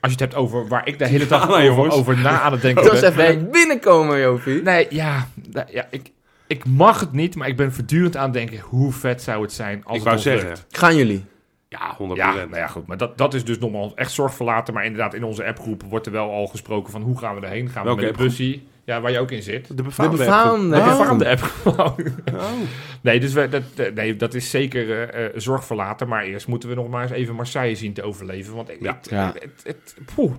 B: Als je het hebt over waar ik de hele dag
D: Tirana,
B: over,
D: jongens.
B: over na aan het denken
C: Dat was
B: ben.
C: even bij binnenkomen, Jopie.
B: Nee, ja, da- ja ik, ik mag het niet, maar ik ben voortdurend aan het denken... hoe vet zou het zijn als
D: ik
B: het
D: wou
B: ons lukt.
D: zeggen.
C: Gaan jullie?
D: Ja, 100%.
B: Ja, nou ja, goed. Maar dat, dat is dus nogmaals echt zorg verlaten. Maar inderdaad, in onze appgroep wordt er wel al gesproken van... hoe gaan we erheen? Gaan
D: Welke
B: we met de
D: appgroep?
B: bussie? Ja, waar je ook in zit.
D: De
C: De
D: befaamde.
C: befaamde.
B: Nee,
C: Oh.
B: van de app gewoon.
D: Oh.
B: Nee, dus we, dat, eh, nee, dat is zeker eh, eh, zorg verlaten. Maar eerst moeten we nog maar eens even Marseille zien te overleven. Want ik-
D: Ja.
B: het,
C: Ja.
B: het- het- poeh.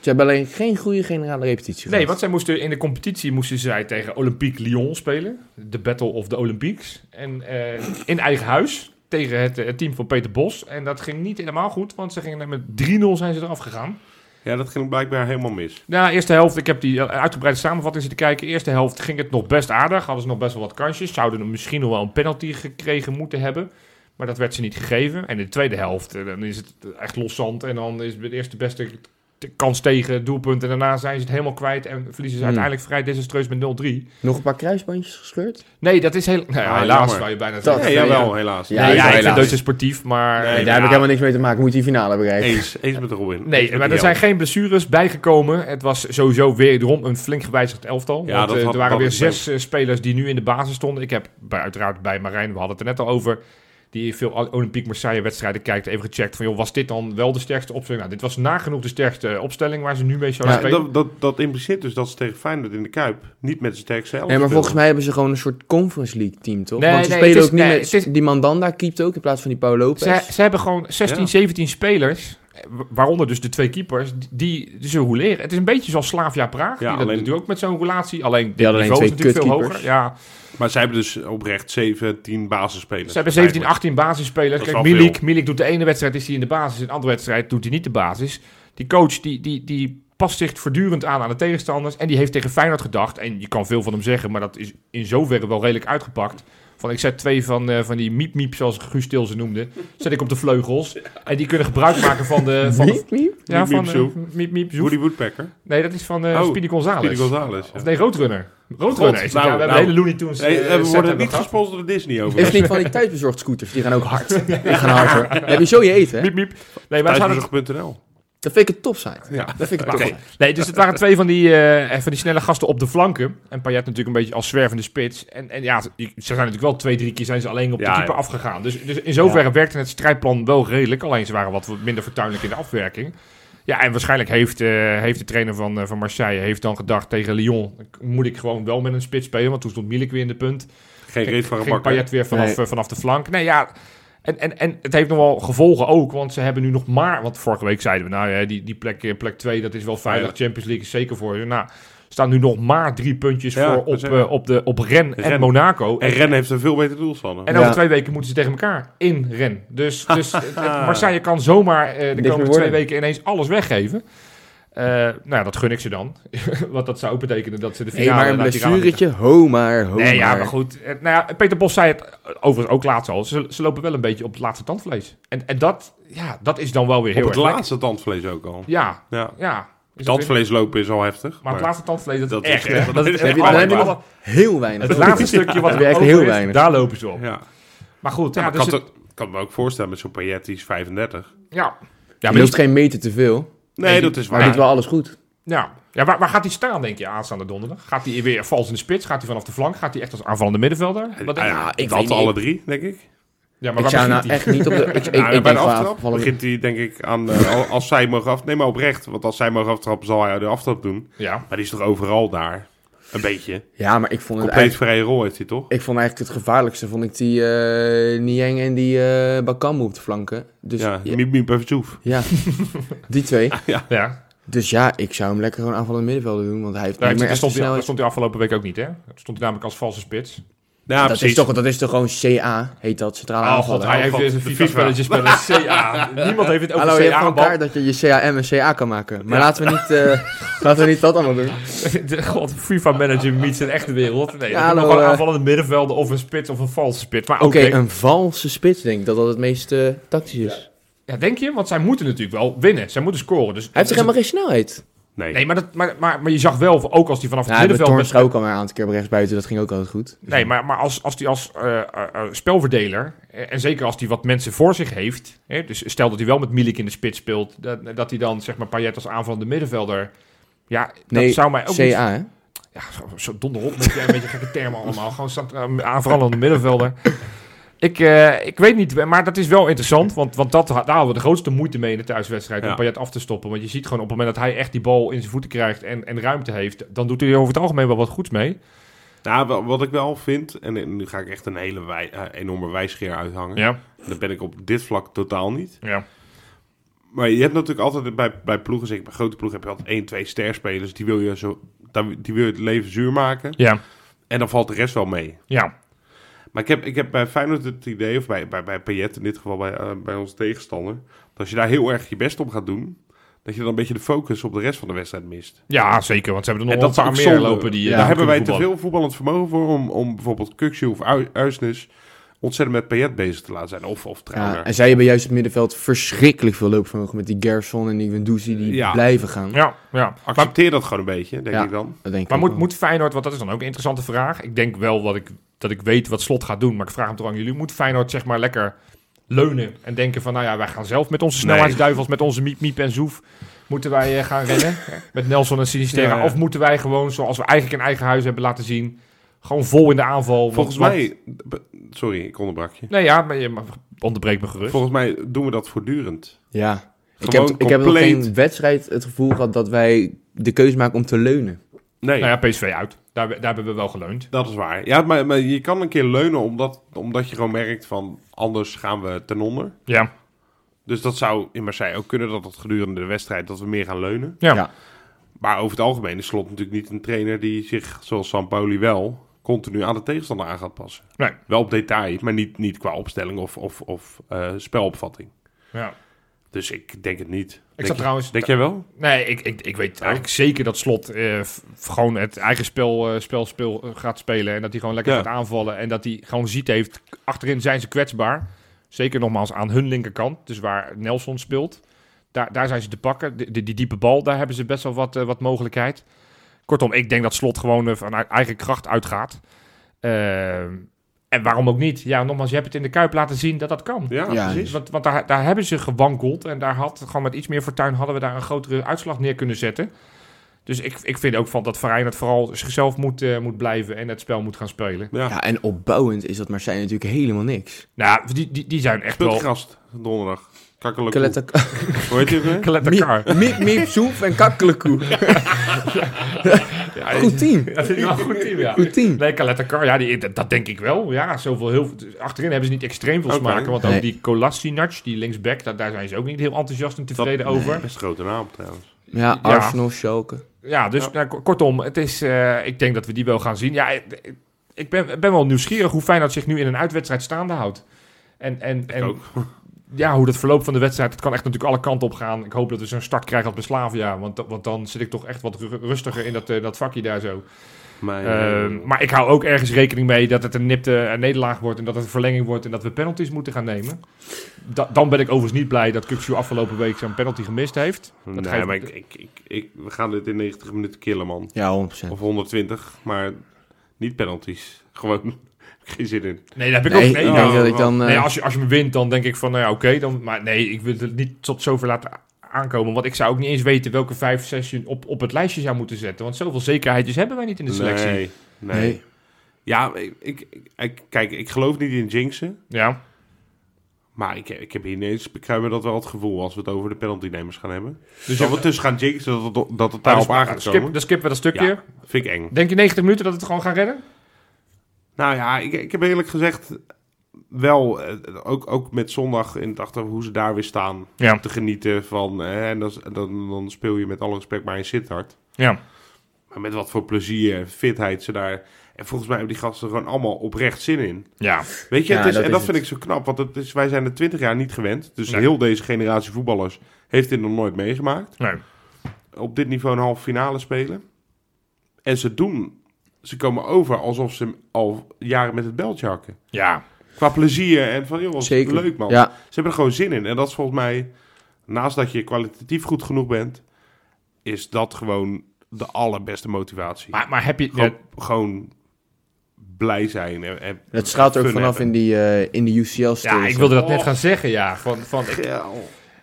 C: Ze hebben alleen geen goede generale repetitie
B: Nee,
C: gehad.
B: want zij moesten in de competitie moesten zij tegen Olympique Lyon spelen. De Battle of the Olympiques. En eh, in eigen huis tegen het, eh, het team van Peter Bos. En dat ging niet helemaal goed, want ze gingen met 3-0 zijn ze eraf gegaan.
D: Ja, dat ging blijkbaar helemaal mis.
B: Na de eerste helft, ik heb die eh, uitgebreide samenvatting zitten kijken. Eerste helft ging het nog best aardig. Hadden ze nog best wel wat kansjes. Zouden er misschien nog wel een penalty gekregen moeten hebben. Maar dat werd ze niet gegeven. En in de tweede helft, eh, dan is het echt los zand. En dan is het eerst de beste t- kans tegen het doelpunt. En daarna zijn ze het helemaal kwijt. En verliezen ze
C: Hmm.
B: uiteindelijk vrij desastreus met 0-3.
C: Nog een paar kruisbandjes gescheurd?
B: Nee, dat is heel... Nou, ja,
D: Ah,
B: helaas
D: jammer.
B: zou je bijna
C: Dat-
B: zeggen.
D: Nee,
C: ja.
D: jawel, helaas.
C: Ja,
B: Ja, ja, ik vind
C: helaas.
B: Deutsche sportief, maar...
D: Nee,
C: Nee,
D: maar
C: daar heb
D: ja.
C: ik helemaal niks mee te maken. Moet die finale bereiken.
D: Eens, eens met Robin. Eens met
B: Nee, maar
D: die
B: er zijn
D: helft.
B: geen blessures bijgekomen. Het was sowieso wederom een flink gewijzigd elftal.
D: Ja,
B: want,
D: dat
B: eh,
D: had-
B: er waren
D: dat
B: weer
D: had ik
B: zes eh, spelers die nu in de basis stonden. Ik heb bij, uiteraard bij Marijn, we hadden het er net al over, die veel Olympiek Marseille-wedstrijden kijkt, even gecheckt van, joh, was dit dan wel de sterkste opstelling? Nou, dit was nagenoeg de sterkste eh, opstelling waar ze nu mee zouden
C: Ja,
D: En
B: spelen.
D: dat, dat, dat impliceert dus dat ze tegen Feyenoord in de Kuip niet met zijn sterkste helft
C: Nee, maar
D: speelden.
C: volgens mij hebben ze gewoon een soort Conference League team, toch?
B: Nee,
C: Want ze
B: nee,
C: spelen
B: het is-
C: ook niet
B: nee,
C: met...
B: het is-
C: Die Mandanda keept ook in plaats van die Paolo Lopez.
B: Ze, ze hebben gewoon 16,
D: Ja.
B: 17 spelers wa- waaronder dus de twee keepers, die- die, die ze rouleren. Het is een beetje zoals Slavia Praag, die dat
D: alleen-
B: natuurlijk ook met zo'n roulatie. Alleen dit
C: hadden alleen
B: niveau is
C: twee
B: natuurlijk veel hoger.
C: kutkeepers.
B: Ja,
D: Maar zij hebben dus oprecht 17 basisspelers.
B: ze hebben 17,
D: eigenlijk.
B: 18 basisspelers.
D: Dat is
B: Kijk,
D: wel
B: Milik,
D: veel.
B: Milik doet de ene wedstrijd is hij in de basis, en de andere wedstrijd doet hij niet de basis. Die coach die, die, die past zich voortdurend aan aan de tegenstanders en die heeft tegen Feyenoord gedacht. En je kan veel van hem zeggen, maar dat is in zoverre wel redelijk uitgepakt. Van ik zet twee van, eh, van die miep-miep, zoals Guus Til ze noemde, zet ik op de vleugels. En die kunnen gebruik maken van de, van de,
C: Miep, miep.
B: ja,
D: Miep, miep,
B: van eh,
D: zoep.
B: miep, miep, zoep.
D: Woody Woodpecker.
B: Nee, dat is van eh
D: Oh,
B: Speedy Gonzales.
D: Pieter Gonzales. ja.
B: Of nee, Roadrunner. Roadrunner
D: God,
B: is het.
D: nou,
B: ja, we hebben
D: nou.
B: hele Looney Tunes.
D: Nee,
B: eh,
D: eh, we
B: set
D: worden
B: hebben
D: niet
B: gehad.
D: gesponsord door Disney over.
C: Is niet van die thuisbezorgd scooters, die gaan ook
B: [laughs]
C: hard. Die gaan hard hoor. Dan heb je zo je eten. hè?
B: Miep, miep. Nee, maar ze hadden-
D: Thuisbezorg.nl.
C: Dat vind ik een topsite.
D: Ja.
C: Dat vind ik een
D: Oké.
C: topsite.
B: nee, dus het waren twee van die, eh, van die snelle gasten op de flanken. En Payet natuurlijk een beetje als zwervende spits. En, en ja, ze ze zijn natuurlijk wel twee, drie keer zijn ze alleen op de
D: Ja,
B: keeper
D: ja.
B: afgegaan. Dus, dus in zoverre werkte het strijdplan wel redelijk. Alleen ze waren wat minder fortuinlijk in de afwerking. Ja, en waarschijnlijk heeft, eh, heeft de trainer van, eh, van Marseille heeft dan gedacht tegen Lyon... moet ik gewoon wel met een spits spelen, want toen stond Milik weer in de punt.
D: Geen reet van
B: ging
D: gebakken.
B: Payet weer vanaf,
C: Nee.
B: eh, vanaf de flank. Nee, ja. En, en, en het heeft nog wel gevolgen ook, want ze hebben nu nog maar... Want vorige week zeiden we, nou ja, die, die plek 2, plek twee, dat is wel veilig.
D: Veilig.
B: Champions League is zeker voor je. Nou, staan nu nog maar drie puntjes
D: Ja,
B: voor
D: dat
B: op,
D: zeggen we.
B: eh, op, de, op Ren en
D: Rennes.
B: Monaco.
D: En
B: En,
D: Ren heeft een veel beter doelsaldo.
B: en over
C: Ja.
B: twee weken moeten ze tegen elkaar in Ren.
D: [laughs]
B: Dus, dus het- het- Marseille kan zomaar eh, de
C: meer
B: komende twee
C: worden.
B: weken ineens alles weggeven. Eh, nou ja, dat gun ik ze dan. [laughs] Want dat zou ook betekenen dat ze de
C: Nee,
B: finale...
C: maar een
B: laat die ramen liggen.
C: blessuretje, ho maar, ho
B: Nee, ja, maar
C: Oh, maar.
B: goed. Eh, Nou ja, Peter Bos zei het overigens ook laatst al. Ze, ze lopen wel een beetje op het laatste tandvlees. En, en dat, ja, dat is dan wel weer
D: Op
B: heel
D: het
B: erg
D: laatste tandvlees ook al.
B: lekker. Ja,
D: Ja.
B: ja. Is dat weer-
D: Tandvlees lopen is al heftig.
B: Maar het laatste tandvlees, dat,
D: Dat
B: is
D: is
B: echt...
D: echt-
B: hè. Dat is
D: Heb
B: echt
D: je-
B: alle-
D: dan heb je
B: alle-
D: [laughs]
C: Heel weinig.
B: het laatste stukje wat
C: [laughs] Heb
B: er
C: je echt
B: over
C: heel
B: is,
C: weinig.
B: daar lopen ze op.
D: Ja.
B: Maar goed, ja,
D: maar
B: dus
D: kan
B: het-
D: het- kan me ook voorstellen met zo'n Payet, die is 35.
B: ja.
C: Ja,
B: Ja,
C: maar
B: maar
C: je
B: die-
C: hoeft geen meter te veel,
D: Nee, dat is
C: maar
D: waar.
C: doet wel alles goed.
B: ja. Ja, waar, waar gaat hij staan, denk je, aanstaande donderdag? Gaat hij weer vals in de spits? Gaat hij vanaf de flank? Gaat hij echt als aanvallende middenvelder? Wat denk je?
D: Ah ja,
C: ik
D: dat
C: weet niet.
D: alle drie, denk ik.
B: Ja, maar
C: Ik
B: waar
C: zou
B: begint
C: nou
B: hij?
C: echt niet op de...
B: [laughs]
C: Ik, ik,
D: Nou,
C: ik
D: bij
C: denk
D: de
C: wel
D: aftrap
C: aanvallen-
D: begint hij denk ik aan... eh, al- als zij mogen aftrappen... Nee, maar oprecht. Want als zij mogen aftrappen, zal hij de aftrap doen.
B: Ja.
D: Maar die is toch overal daar? Een beetje.
C: Ja, maar ik vond het
D: Compleet
C: eigenlijk...
D: vrije rol heeft hij toch?
C: Ik vond eigenlijk het gevaarlijkste, vond ik die eh Nieng en die eh Bakambu op de flanken. Dus
D: Ja,
C: ja,
D: Miep Miep en Verzoef.
B: [laughs]
C: ja, die twee.
B: ja.
C: Dus ja, ik zou hem lekker gewoon aanvallend middenvelder doen, want hij heeft
B: Nou,
C: niet meer
B: dat
C: echt de
B: stond, hij, dat
C: snelheid.
B: stond hij afgelopen week ook niet, hè? Dat stond hij namelijk als valse spits.
D: Ja,
C: dat, is
D: precies.
C: toch, dat is toch gewoon CA, heet dat, centrale
B: Oh god,
C: aanvaller.
B: hij heeft
D: God,
B: weer zijn
D: de
B: FIFA-spelletje spelen. [laughs] CA. Niemand heeft het over
C: Hallo, je hebt
B: CA.
C: gewoon kaart dat je je CAM en CA kan maken. Maar laten, we niet, eh, laten we niet dat allemaal doen.
B: [laughs] De- God, FIFA-manager meets een echte wereld. Nee, dat
C: Ja,
B: doen we
C: hallo,
B: gewoon
C: eh.
B: aanvallende middenvelden of een spits of een valse spits. Maar
C: Oké, eh.
B: oké.
C: een valse spits denk ik dat dat het meest eh, tactisch is.
B: Ja, denk je? Want zij moeten natuurlijk wel winnen. Zij moeten scoren. Dus
C: Hij heeft toch helemaal geen snelheid?
D: Nee.
B: Nee, maar, dat, maar, maar, maar je zag wel, ook als die vanaf het
C: Ja, de
B: middenveld...
C: Tornstra ook al maar een aantal keer op rechtsbuiten, dat ging ook altijd goed.
B: Nee, maar, maar als, als die als eh, eh, eh, spelverdeler, eh, en zeker als die wat mensen voor zich heeft, hè, dus stel dat hij wel met Milik in de spits speelt, dat, dat hij dan zeg maar Payet als aanvallende middenvelder, ja, dat
C: Nee,
B: zou mij ook niet
C: CA, hè?
B: Ja, zo, zo donder op met jij een [laughs] beetje gekke termen allemaal. Gewoon stand- eh,
D: [laughs]
B: aanvallende middenvelder. Ik, eh, ik weet niet, maar dat is wel interessant. Want, want dat, daar hadden we de grootste moeite mee in de thuiswedstrijd.
D: Ja.
B: Om Payet af te stoppen. Want je ziet gewoon op het moment dat hij echt die bal in zijn voeten krijgt en, en ruimte heeft. Dan doet hij er over het algemeen wel wat goeds mee.
D: Nou, wa- wat ik wel vind, en eh, nu ga ik echt een hele wij- eh, enorme wijsgeer uithangen.
B: Ja,
D: Dat ben ik op dit vlak totaal niet.
B: ja.
D: Maar je hebt natuurlijk altijd bij, bij ploegen, zeker bij grote ploegen, heb je altijd één, twee sterspelers. Die wil je, zo, daar- die wil je het leven zuur maken.
B: Ja,
D: En dan valt de rest wel mee.
B: ja.
D: Maar ik heb, ik heb bij Feyenoord het idee, of bij, bij, bij Payet in dit geval, bij, eh, bij onze tegenstander. Dat als je daar heel erg je best op gaat doen, dat je dan een beetje de focus op de rest van de wedstrijd mist.
B: ja zeker. Want ze hebben er
D: En
B: nog
D: dat
B: wel
D: is
B: een
D: ook
B: paar meer
D: zonde.
B: lopen. Die, eh,
D: daar hebben wij
B: kunnen
D: te
B: voetballen.
D: veel voetballend vermogen voor om, om bijvoorbeeld Kukshu of Ui- Uisnes ontzettend met Payet bezig te laten zijn. Of, of Trauner.
C: Ja, en zij hebben juist op het middenveld verschrikkelijk veel loopvermogen met die Gerson en die Wendouzi die
D: Ja.
C: blijven gaan.
B: Ja, ja. Maar,
D: Accepteer dat gewoon een beetje, denk
C: Ja.
D: ik dan.
C: Dat denk ik
B: maar
C: ook
B: moet,
C: wel.
B: moet Feyenoord, want dat is dan ook een interessante vraag. Ik denk wel dat ik, dat ik weet wat Slot gaat doen, maar ik vraag hem toch aan jullie. Moet Feyenoord zeg maar lekker leunen en denken van, nou ja, wij gaan zelf met onze snelheidsduivels, met onze miep, miep en zoef, moeten wij eh, gaan
D: [laughs]
B: rennen met Nelson en Sinisterra.
D: Ja, ja.
B: Of moeten wij gewoon, zoals we eigenlijk in eigen huis hebben laten zien, gewoon vol in de aanval. Want-
D: Volgens
B: want-
D: mij, b- sorry, ik onderbrak je.
B: Nee, ja, maar je mag- onderbreek me gerust.
D: Volgens mij doen we dat voortdurend.
C: Ja. Ik heb,
D: Gewoon
C: ik heb nog
D: compleet.
C: geen wedstrijd het gevoel gehad dat wij de keuze maken om te leunen.
D: Nee,
B: Nou ja, PSV uit. Daar, daar hebben we wel geleund.
D: dat is waar. Ja, maar, maar je kan een keer leunen omdat, omdat je gewoon merkt van anders gaan we ten onder.
B: Ja,
D: Dus dat zou in Marseille ook kunnen dat dat gedurende de wedstrijd dat we meer gaan leunen.
B: Ja.
C: Ja.
D: Maar over het algemeen is Slot natuurlijk niet een trainer die zich, zoals Sampaoli wel, continu aan de tegenstander aan gaat passen.
B: Nee.
D: Wel op detail, maar niet, niet qua opstelling of, of, of eh, spelopvatting.
B: Ja.
D: Dus ik denk het niet.
B: Ik
D: denk,
B: zat trouwens...
D: denk jij wel?
B: Nee, ik, ik, ik weet eigenlijk zeker dat Slot eh, f- gewoon het eigen spel, eh, spel, speel, eh, gaat spelen. En dat hij gewoon lekker
D: Ja.
B: gaat aanvallen. En dat hij gewoon ziet heeft, achterin zijn ze kwetsbaar. Zeker nogmaals aan hun linkerkant, dus waar Nelson speelt. Daar, daar zijn ze te pakken. De, de- die diepe bal, daar hebben ze best wel wat, eh, wat mogelijkheid. Kortom, ik denk dat Slot gewoon eh, van eigen kracht uitgaat. Ehm, en waarom ook niet? Ja, nogmaals, je hebt het in de Kuip laten zien dat dat kan.
D: Ja,
C: Ja.
D: precies.
B: Want, want daar, daar hebben ze gewankeld. En daar had gewoon met iets meer fortuin hadden we daar een grotere uitslag neer kunnen zetten. Dus ik, ik vind ook van dat Verein het vooral zichzelf moet, eh, moet blijven en het spel moet gaan spelen.
D: Ja.
C: Ja, en opbouwend is dat Marseille natuurlijk helemaal niks.
B: Nou, die, die, die zijn echt
D: Speelt die
B: wel
D: gast donderdag. Kakkelekoe.
C: Kaletta, [laughs]
D: Hoe heet die ook weer?
B: kletterkar.
C: Miep, miep, soef en kakkelekoe.
B: Ja,
C: Goed team.
B: Dat is wel een goed team, ja.
C: Goed team.
B: Nee, Kaletakar, ja, die, dat, dat denk ik wel. Ja, zoveel, heel, achterin hebben ze niet extreem veel
D: Oké.
B: smaken. Want ook
C: Nee.
B: die Kolasinac, die linksback, daar, daar zijn ze ook niet heel enthousiast en
D: Dat-
B: tevreden over.
D: Best een grote naam trouwens.
C: Ja,
B: Ja.
C: Arsenal, Schalke.
B: Ja, dus
D: Ja.
B: nou, ko- kortom, het is, eh, ik denk dat we die wel gaan zien. Ja, ik- ik ben, ik ben wel nieuwsgierig hoe Feyenoord zich nu in een uitwedstrijd staande houdt. En, en, en
D: ook. [laughs]
B: ja, hoe dat verloop van de wedstrijd, het kan echt natuurlijk alle kanten op gaan. Ik hoop dat we zo'n start krijgen als bij Slavia, want, da- want dan zit ik toch echt wat ru- rustiger in dat, eh, dat vakje daar zo.
D: Mijn,
B: Ehm,
D: eh,
B: maar ik hou ook ergens rekening mee dat het een nipte eh, nederlaag wordt en dat het een verlenging wordt en dat we penalties moeten gaan nemen. Da- dan ben ik overigens niet blij dat Kuksu afgelopen week zo'n penalty gemist heeft. Dat
D: nee,
B: geeft-
D: maar ik, ik, ik, ik- we gaan dit in 90 minuten killen, man.
C: Ja, 100%.
D: Of 120, maar niet penalties. Gewoon [laughs] geen zin in.
B: Nee, daar heb ik
C: Nee,
B: ook...
C: ik
B: Nee,
C: denk
B: ja.
D: nou,
C: dat ik dan... eh,
B: Nee, als je, als je me wint, dan denk ik van, nou ja, oké. dan maar nee, ik wil het niet tot zover laten a- aankomen. Want ik zou ook niet eens weten welke vijf, zes je op, op het lijstje zou moeten zetten. Want zoveel zekerheidjes hebben wij niet in de selectie.
D: Nee, nee.
C: nee.
D: Ja, ik, ik, ik- kijk, ik geloof niet in jinxen.
B: Ja,
D: Maar ik, ik heb ineens, bekruimen dat wel het gevoel als we het over de penaltynemers gaan hebben.
B: dus
D: Dus
B: ja,
D: dat we
B: we-
D: dus gaan jinxen, dat, het- dat het daarop aan gaat
B: dus skip,
D: komen.
B: Nou, dan skippen we dat stukje.
D: Ja. Vind ik eng.
B: Denk je 90 minuten dat we het gewoon gaan redden?
D: Nou ja, ik, ik heb eerlijk gezegd wel, eh, ook, ook met zondag in het achter hoe ze daar weer staan,
B: Ja.
D: te genieten van. eh, en dan, dan, dan speel je met alle respect maar in Sittard.
B: Ja.
D: Maar met wat voor plezier en fitheid ze daar. En volgens mij hebben die gasten gewoon allemaal oprecht zin in.
B: Ja.
D: Weet je,
C: Ja,
D: het is,
C: dat
D: en
C: is
D: dat
C: het.
D: vind ik zo knap, want het is, wij zijn er twintig jaar niet gewend. Dus
B: Nee.
D: heel deze generatie voetballers heeft dit nog nooit meegemaakt.
B: Nee.
D: Op dit niveau een halve finale spelen. En ze doen, ze komen over alsof ze al jaren met het beltje hakken.
B: Ja.
D: Qua plezier en van, joh, wat
C: Zeker.
D: leuk man.
C: Ja,
D: Ze hebben er gewoon zin in. En dat is volgens mij, naast dat je kwalitatief goed genoeg bent, is dat gewoon de allerbeste motivatie.
B: Maar, maar heb je...
D: gewoon,
B: ja,
D: gewoon blij zijn. En, en
C: het straalt er ook
D: fun
C: vanaf
D: hebben.
C: in die, eh, in de ucl
B: ja, ik wilde dat net gaan zeggen, ja. Van, van, ik-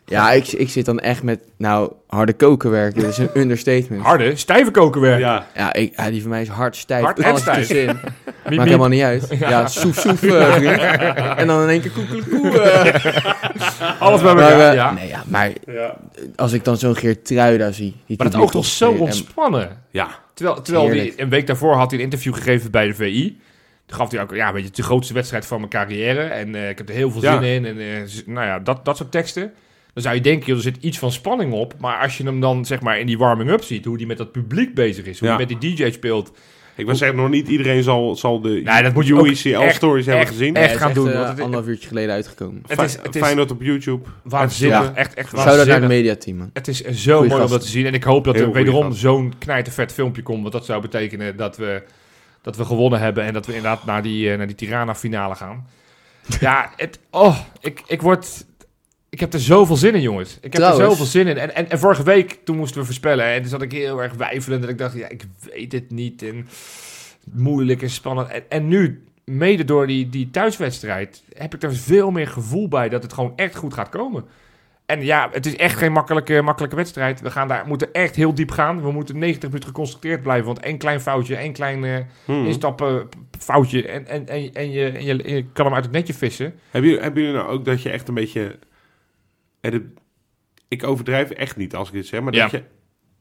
C: Ja, ik, ik zit dan echt met... Nou, harde koken werken, dat is
B: [laughs]
C: een understatement.
B: harde, stijve kokenwerk.
D: Ja,
C: Ja, ik, ja, die van mij is hard stijf.
B: Hard en
C: alles
B: stijf. [laughs]
C: tussenin.
B: Miep,
C: Maakt
B: miep.
C: helemaal niet uit.
B: [laughs]
C: Ja, soef, soef. eh, vriend. en dan in één keer
B: [laughs]
C: koekelekoe. eh.
B: Alles bij
C: Maar,
B: elkaar,
C: eh,
B: ja.
C: Nee, ja, maar
D: ja.
C: als ik dan zo'n Geertruida zie...
B: Maar dat
C: Die publiek
B: oogt toch zo
C: opspelen en-
B: ontspannen.
D: ja.
B: Terwijl, terwijl
C: Heerlijk.
B: die, een week daarvoor had hij een interview gegeven bij de VI. Toen gaf hij ook, ja, weet je, het is de grootste wedstrijd van mijn carrière. En eh, ik heb er heel veel
D: Ja.
B: zin in. En eh, z- nou ja, dat, dat soort teksten. Dan zou je denken, joh, er zit iets van spanning op. Maar als je hem dan, zeg maar, in die warming-up ziet... hoe hij met dat publiek bezig is, hoe
D: Ja.
B: hij met die DJ speelt...
D: Ik wil zeggen, nog niet iedereen zal, zal de
B: Nee, dat moet je ook echt-
D: UICL-stories hebben
B: echt-
D: gezien.
C: Ja,
B: echt
C: het is
B: gaan doen,
C: eh,
B: want het is-
C: anderhalf uurtje geleden uitgekomen.
B: Het
D: Fi-
B: is, het is
D: Feyenoord op YouTube.
B: waanzinnig.
C: Ja.
B: Echt, echt
C: Zou dat naar
B: waanzinnig.
C: het mediateam, man.
B: Het is zo
C: Goeie
B: mooi om
C: gast.
B: dat te zien. En ik hoop dat
D: Heel
B: er
D: goeie
B: wederom
D: gast.
B: zo'n knijtervet filmpje komt. Want dat zou betekenen dat we, dat we gewonnen hebben. En dat we inderdaad naar die, eh, naar die Tirana-finale gaan. Ja, het, oh, ik, ik word... Ik heb er zoveel zin in, jongens. Ik heb
C: Trouwens.
B: er zoveel zin in. En, en, en vorige week, toen moesten we voorspellen. En toen zat ik heel erg wijfelend. En ik dacht, ja, ik weet het niet. En moeilijk en spannend. En, en nu, mede door die, die thuiswedstrijd, heb ik er veel meer gevoel bij dat het gewoon echt goed gaat komen. En ja, het is echt geen makkelijke, makkelijke wedstrijd. We gaan daar, moeten echt heel diep gaan. We moeten 90 minuten geconcentreerd blijven. Want één klein foutje, één klein eh
D: Hmm.
B: instappen foutje. En, en, en, en, je, en, je, en je kan hem uit het netje vissen.
D: Hebben, jullie, hebben jullie nou ook dat je echt een eh, beetje... en het- ik overdrijf echt niet als ik dit zeg, maar
B: Ja.
D: dat je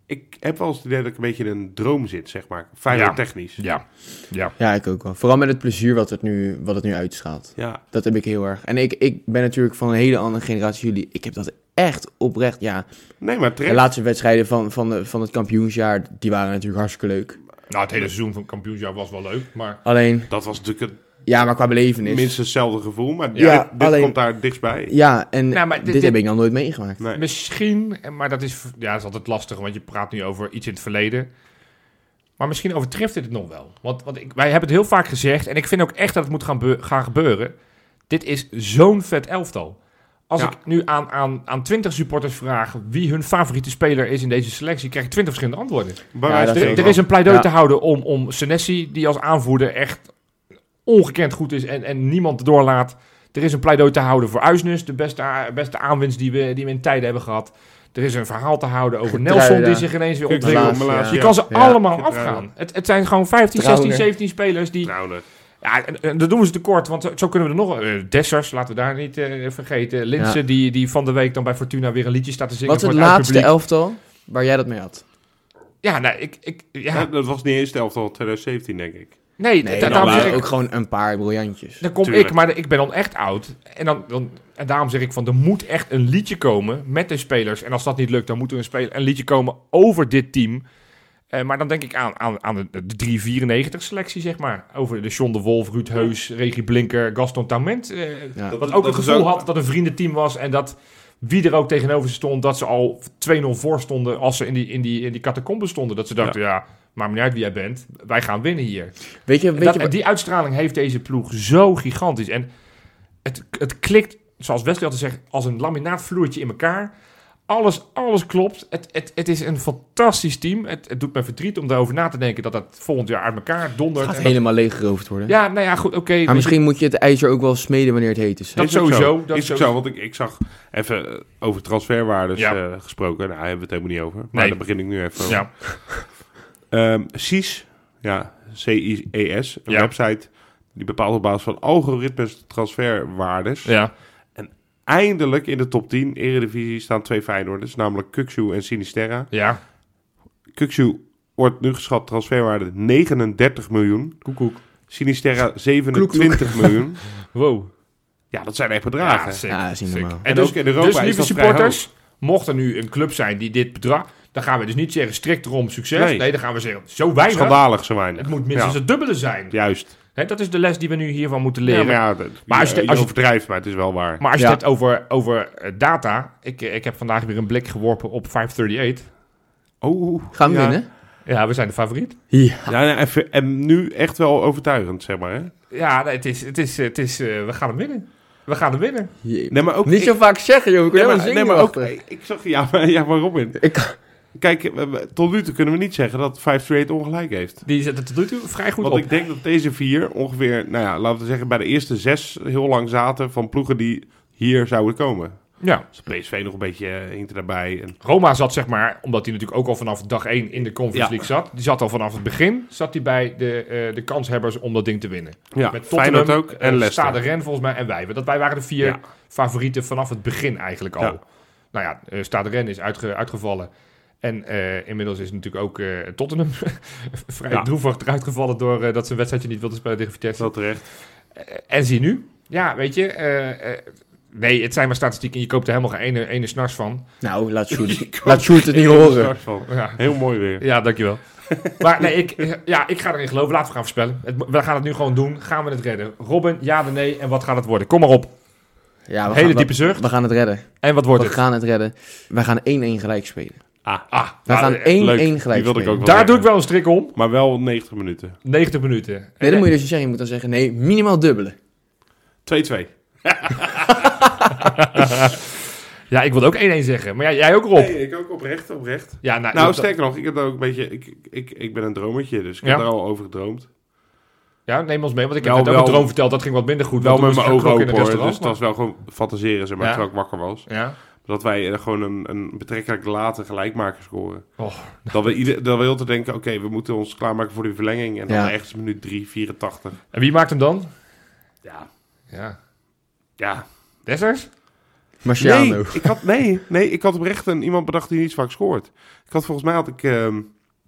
D: ik heb wel eens het idee dat ik een beetje in een droom zit, zeg maar. Feyenoord technisch. Ja.
B: Ja, ja.
C: Ja, ik ook wel. Vooral met het plezier wat het nu, wat het nu uitstraalt. Dat heb ik heel erg. En ik, ik ben natuurlijk van een hele andere generatie als jullie. Ik heb dat echt oprecht, ja.
D: Nee, maar
C: De
D: terecht.
C: laatste wedstrijden van, van, de- van het kampioensjaar, die waren natuurlijk hartstikke leuk.
B: Nou, het hele seizoen van kampioensjaar was wel leuk, maar...
C: Alleen,
D: Dat was natuurlijk het
C: ja, maar qua belevenis.
D: minstens hetzelfde gevoel. Maar
C: Ja,
D: dit, dit
C: alleen-
D: komt daar dichtstbij.
C: Ja, en
B: Nou, maar dit-
C: dit,
B: dit-
C: heb ik nog nooit meegemaakt.
D: Nee.
B: Misschien, en- maar dat is, ja, dat is altijd lastig, want je praat nu over iets in het verleden. Maar misschien overtreft dit het nog wel. Want, want ik, wij hebben het heel vaak gezegd, en ik vind ook echt dat het moet gaan, beu- gaan gebeuren. Dit is zo'n vet elftal. Als
D: Ja.
B: ik nu aan, aan, aan 20 supporters vraag wie hun favoriete speler is in deze selectie, krijg ik 20 verschillende antwoorden.
D: Bij
C: Ja,
D: wijze van
C: dat vind
B: Er,
C: ik
D: spreken.
B: er is een pleidooi
C: Ja.
B: te houden om, om Senesi, die als aanvoerder echt ongekend goed is en, en niemand doorlaat. Er is een pleidooi te houden voor Uisnes, de beste, a- beste aanwinst die we, die we in tijden hebben gehad. Er is een verhaal te houden over
C: Getruida.
B: Nelson, die zich ineens weer
D: Kukzu,
B: ontwikkelt.
C: Laatst,
D: Malasia.
C: ja.
B: Je kan ze
C: Ja.
B: allemaal
D: Getruida.
B: afgaan. Het, het zijn gewoon 15,
C: Trouwner.
B: 16, 17 spelers die...
D: Trouwner.
B: Ja, en, en dat doen we ze tekort, want zo, zo kunnen we er nog... eh, Dessers, laten we daar niet eh, vergeten. Linsen, die, die van de week dan bij Fortuna weer een liedje staat te zingen
C: Wat is
B: voor
C: het
B: het
C: laatste
B: uitpubliek.
C: elftal waar jij dat mee had?
B: Ja, nou, ik... ik
D: Ja,
B: ja,
D: dat was niet eens de elftal 2017, denk ik.
B: nee, nee
C: Nee, daar
D: daarom
B: daarom
D: waren
B: zeg
C: waren
B: ik...
C: ook gewoon een paar briljantjes.
B: Dan kom
D: Tuurlijk.
B: ik, maar ik ben dan echt oud. En, dan, dan, en daarom zeg ik van, er moet echt een liedje komen met de spelers. En als dat niet lukt, dan moet er een, speler, een liedje komen over dit team. Eh, maar dan denk ik aan, aan, aan de, de 394 selectie, zeg maar. Over de John de Wolf, Ruud Heus, Regie Blinker, Gaston Tament. eh,
C: Ja.
B: Wat ook
D: dat
B: het
D: is
B: gevoel
D: ook-
B: had dat een vriendenteam was en dat wie er ook tegenover ze stond, dat ze al 2-0 voor stonden als ze in die, in die, in die catacombe stonden. Dat ze dachten, ja, maakt me niet uit wie jij bent, wij gaan winnen hier.
C: Weet je,
B: En
C: weet
B: dat-
C: je
B: en die uitstraling heeft deze ploeg zo gigantisch. En het, het klikt, zoals Wesley altijd zegt, als een laminaatvloertje in elkaar. Alles, alles klopt. Het, het, het is een fantastisch team. Het, het doet me verdriet om daarover na te denken dat dat volgend jaar uit elkaar
C: wat-
B: dondert.
C: gaat
B: En
C: helemaal leeggeroofd worden.
B: dat- ja, nou ja, goed, oké. weet je,
C: maar misschien moet je het ijzer ook wel smeden wanneer het heet is. hè?
B: Dat
D: Is ook
B: sowieso,
D: zo.
B: dat
D: is ook
B: sowieso.
D: zo, want ik, ik zag even eh, over transferwaardes
B: Ja.
D: eh, gesproken. Nou, daar hebben we het helemaal niet over. Maar
B: Nee.
D: daar begin ik nu even over.
B: Ja,
D: Ehm, CIS, ja, C-I-E-S, een
B: Ja.
D: website die bepaalt op basis van algoritmes transferwaardes.
B: ja.
D: Eindelijk in de top 10 Eredivisie staan twee Feyenoorders, namelijk Kukzu en Sinisterra.
B: ja.
D: Kukzu wordt nu geschat transferwaarde 39 miljoen.
B: Koekoek.
D: Sinisterra 27
B: [laughs]
D: miljoen.
B: Wow.
D: Ja, dat zijn echt
B: Ja,
D: bedragen.
B: sick,
C: Ja, dat is niet
B: sick.
C: normaal.
B: En
D: Dus-
B: ook in
D: in
B: Europa
D: Europa
B: dus
D: is
B: lieve
D: dat vrij
B: supporters, mocht er nu een club zijn die dit bedrag... dan gaan we dus niet zeggen strikt erom succes. Nee,
D: Nee.
B: dan gaan we zeggen zo weinig.
D: Schandalig zo weinig.
B: Het moet minstens
D: Ja,
B: het dubbele zijn.
D: Juist.
B: Hè, dat is de les die we nu hiervan moeten
D: Ja,
B: leren.
D: maar
B: maar,
D: ja, dat-
B: Maar als je-
D: je
B: als je-
D: overdrijft, maar het is wel waar.
B: als je
C: Ja.
B: het hebt over, over eh, data... Ik, ik heb vandaag weer een blik geworpen op 538.
D: Oh,
C: Gaan we
D: ja.
C: winnen?
B: Ja, we zijn de favoriet.
C: Ja.
D: Ja, nou, even- en nu echt wel overtuigend, zeg maar. Hè?
B: Ja, nee, het is, het is, het is, eh, we gaan hem winnen. We gaan hem winnen.
D: Nee, maar ook.
C: Niet
D: ik-
C: zo vaak zeggen, joh. Ik
D: nee,
C: nee,
D: maar, nee, maar ook. Ik zag. Ja, maar, ja, maar Robin.
C: Ik kan-
D: Kijk, we- we- tot nu toe kunnen we niet zeggen dat 538 ongelijk heeft.
B: Die zet het tot nu toe vrij goed
D: Want
B: op.
D: ik denk dat deze vier ongeveer, nou ja, laten we zeggen, bij de eerste zes heel lang zaten van ploegen die hier zouden komen.
B: Ja.
D: Dus PSV nog een beetje eh, hinkt erbij. En,
B: Roma zat zeg maar, omdat hij natuurlijk ook al vanaf dag 1 in de Conference
D: Ja.
B: League zat. Die zat al vanaf het begin zat hij bij de, eh, de kanshebbers om dat ding te winnen.
D: ja,
B: Met Tottenham,
D: Feyenoord ook en
B: eh,
D: Leicester.
B: Stade Ren volgens mij en wij. Want Dat, wij waren de vier
D: Ja.
B: favorieten vanaf het begin eigenlijk al.
D: Ja.
B: Nou ja, eh, Stade Ren is uitge- uitgevallen. En eh, inmiddels is natuurlijk ook eh, Tottenham [laughs] vrij
D: Ja.
B: droevig eruit gevallen... door eh, dat ze een wedstrijdje niet wilde spelen tegen Vitesse.
D: Wel terecht.
B: En zie nu. Ja, weet je... eh, eh, nee, het zijn maar statistieken. Je koopt er helemaal geen ene, ene snars van.
C: Nou, [laughs] laat Sjoerd, laat Sjoerd [laughs] het niet horen.
D: Straks van.
B: Ja.
D: Heel mooi weer.
B: Ja,
D: [laughs]
B: dankjewel. maar nee, ik, ja, ik ga erin geloven. Laten we gaan voorspellen. Het- we gaan het nu gewoon doen. Gaan we het redden? Robin, ja of nee? En wat gaat het worden? Kom maar op.
C: Ja, we
B: Hele
C: gaan-
B: diepe
C: we-
B: zucht.
C: We gaan het redden.
B: En wat wordt
C: We
B: het?
C: gaan het redden. Wij gaan 1-1 gelijk spelen.
D: Ah,
B: Ah,
C: We gaan 1-1
D: leuk.
C: gelijk
D: Die wilde
C: spelen.
D: ik ook wel.
B: daar doe ik wel een strik om.
D: maar wel 90 minuten.
B: 90 minuten.
C: Nee, dan moet je dus niet zeggen. Je moet dan zeggen, nee, minimaal dubbele.
D: 2-2.
B: eh, Ja, ik wilde ook 1-1 zeggen. Maar ja, jij ook Rob.
D: Nee, ik ook oprecht, oprecht.
B: Ja, nou,
D: Nou,
B: dat-
D: sterker nog, ik heb daar ook een beetje. Ik, ik, ik ben een dromertje, dus ik
B: Ja.
D: heb daar al over gedroomd.
B: ja, neem ons mee. Want ik heb
D: Wel,
B: net ook een
D: Nou, wel-
B: droom verteld. Dat ging wat minder goed.
D: Wel
B: want
D: met
B: toen
D: mijn
B: moest ik
D: ogen
B: ook in
D: open
B: het
D: hoor. Dus
B: restaurant,
D: dat is wel gewoon fantaseren, zeg maar,
B: Ja.
D: terwijl ik wakker was.
B: maar- Ja.
D: Dat wij er gewoon een, een betrekkelijk late gelijkmaker scoren.
B: Och.
D: Dat we, ieder, dat we heel te denken, oké, we moeten ons klaarmaken voor die verlenging. En dan
C: Ja.
D: echt minuut 3, 84.
B: En wie maakt hem dan?
D: Ja.
B: Ja.
D: Ja,
B: Dessers?
C: Marciano.
D: Nee, ik had, nee, nee, ik had oprecht een, iemand bedacht die niet zo vaak scoort. Ik had volgens mij had ik... ehm,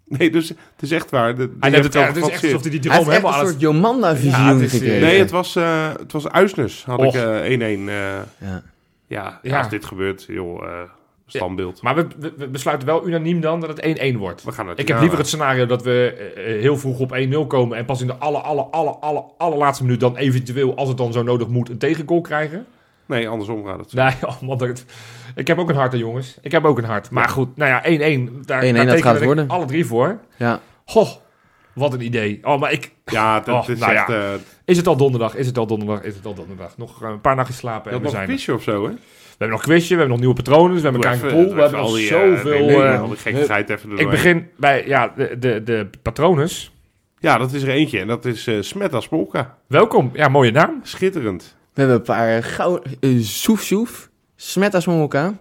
D: nee, dus het is echt waar. de- die
B: Hij
D: heb
B: neemt
D: ik
B: het,
D: al
B: ja, het is echt
D: gefantaseerd.
B: alsof hij die
C: Hij
B: droom
C: heeft echt
B: helemaal
C: een
B: aan
C: soort
B: het... Ja,
C: Jomanda-visioen
B: het is, eh,
C: gekregen.
D: Nee, het was, eh het was Uisnes. Had
B: Och.
D: ik eh, 1-1. eh,
C: Ja.
D: ja,
B: Ja.
D: als dit gebeurt, joh, eh, standbeeld.
B: Maar we, we- we besluiten wel unaniem dan dat het 1-1 wordt.
D: We gaan naar
B: Ik heb
D: Tirana.
B: liever het scenario dat we eh, eh, heel vroeg op 1-0 komen... en pas in de alle, alle, alle, alle, allerlaatste minuut dan eventueel... als het dan zo nodig moet, een tegengoal krijgen.
D: Nee, andersom gaat het.
B: [laughs] Nee, oh man, dat, ik heb ook een hart, hè, jongens. Ik heb ook een hart. Maar goed, nou ja, 1-1. Daar, 1-1, daar
C: 1-1, dat
B: tekenen
C: gaat
B: we
C: worden.
B: Alle drie voor.
C: Ja.
B: Goh, wat een idee. Oh, maar ik,
D: Ja, het, het
B: Och,
D: is
B: nou
D: echt...
B: ja.
D: eh,
B: is het al donderdag? Is het al donderdag? Is het al donderdag? Nog eh, een paar nachtjes slapen
D: je had
B: en we
D: nog een
B: zijn er. We
D: quizje of zo, hè?
B: hebben nog quizje, we hebben nog nieuwe patronen, dus we hebben
D: Doe
B: elkaar in
D: even-
B: de pool.
D: doe
B: We
D: even
B: hebben nog
D: al die, eh,
B: zoveel...
D: nee, nee,
B: eh,
D: al die gekkigheid even
B: ik
D: erdoorheen.
B: begin bij ja, de, de, de patronus.
D: Ja, dat is er eentje. En dat is eh Smeta Spolka.
B: Welkom. Ja, mooie naam.
D: Schitterend.
C: We hebben een paar eh, gouden... eh, soef Soef, Smeta Smolka,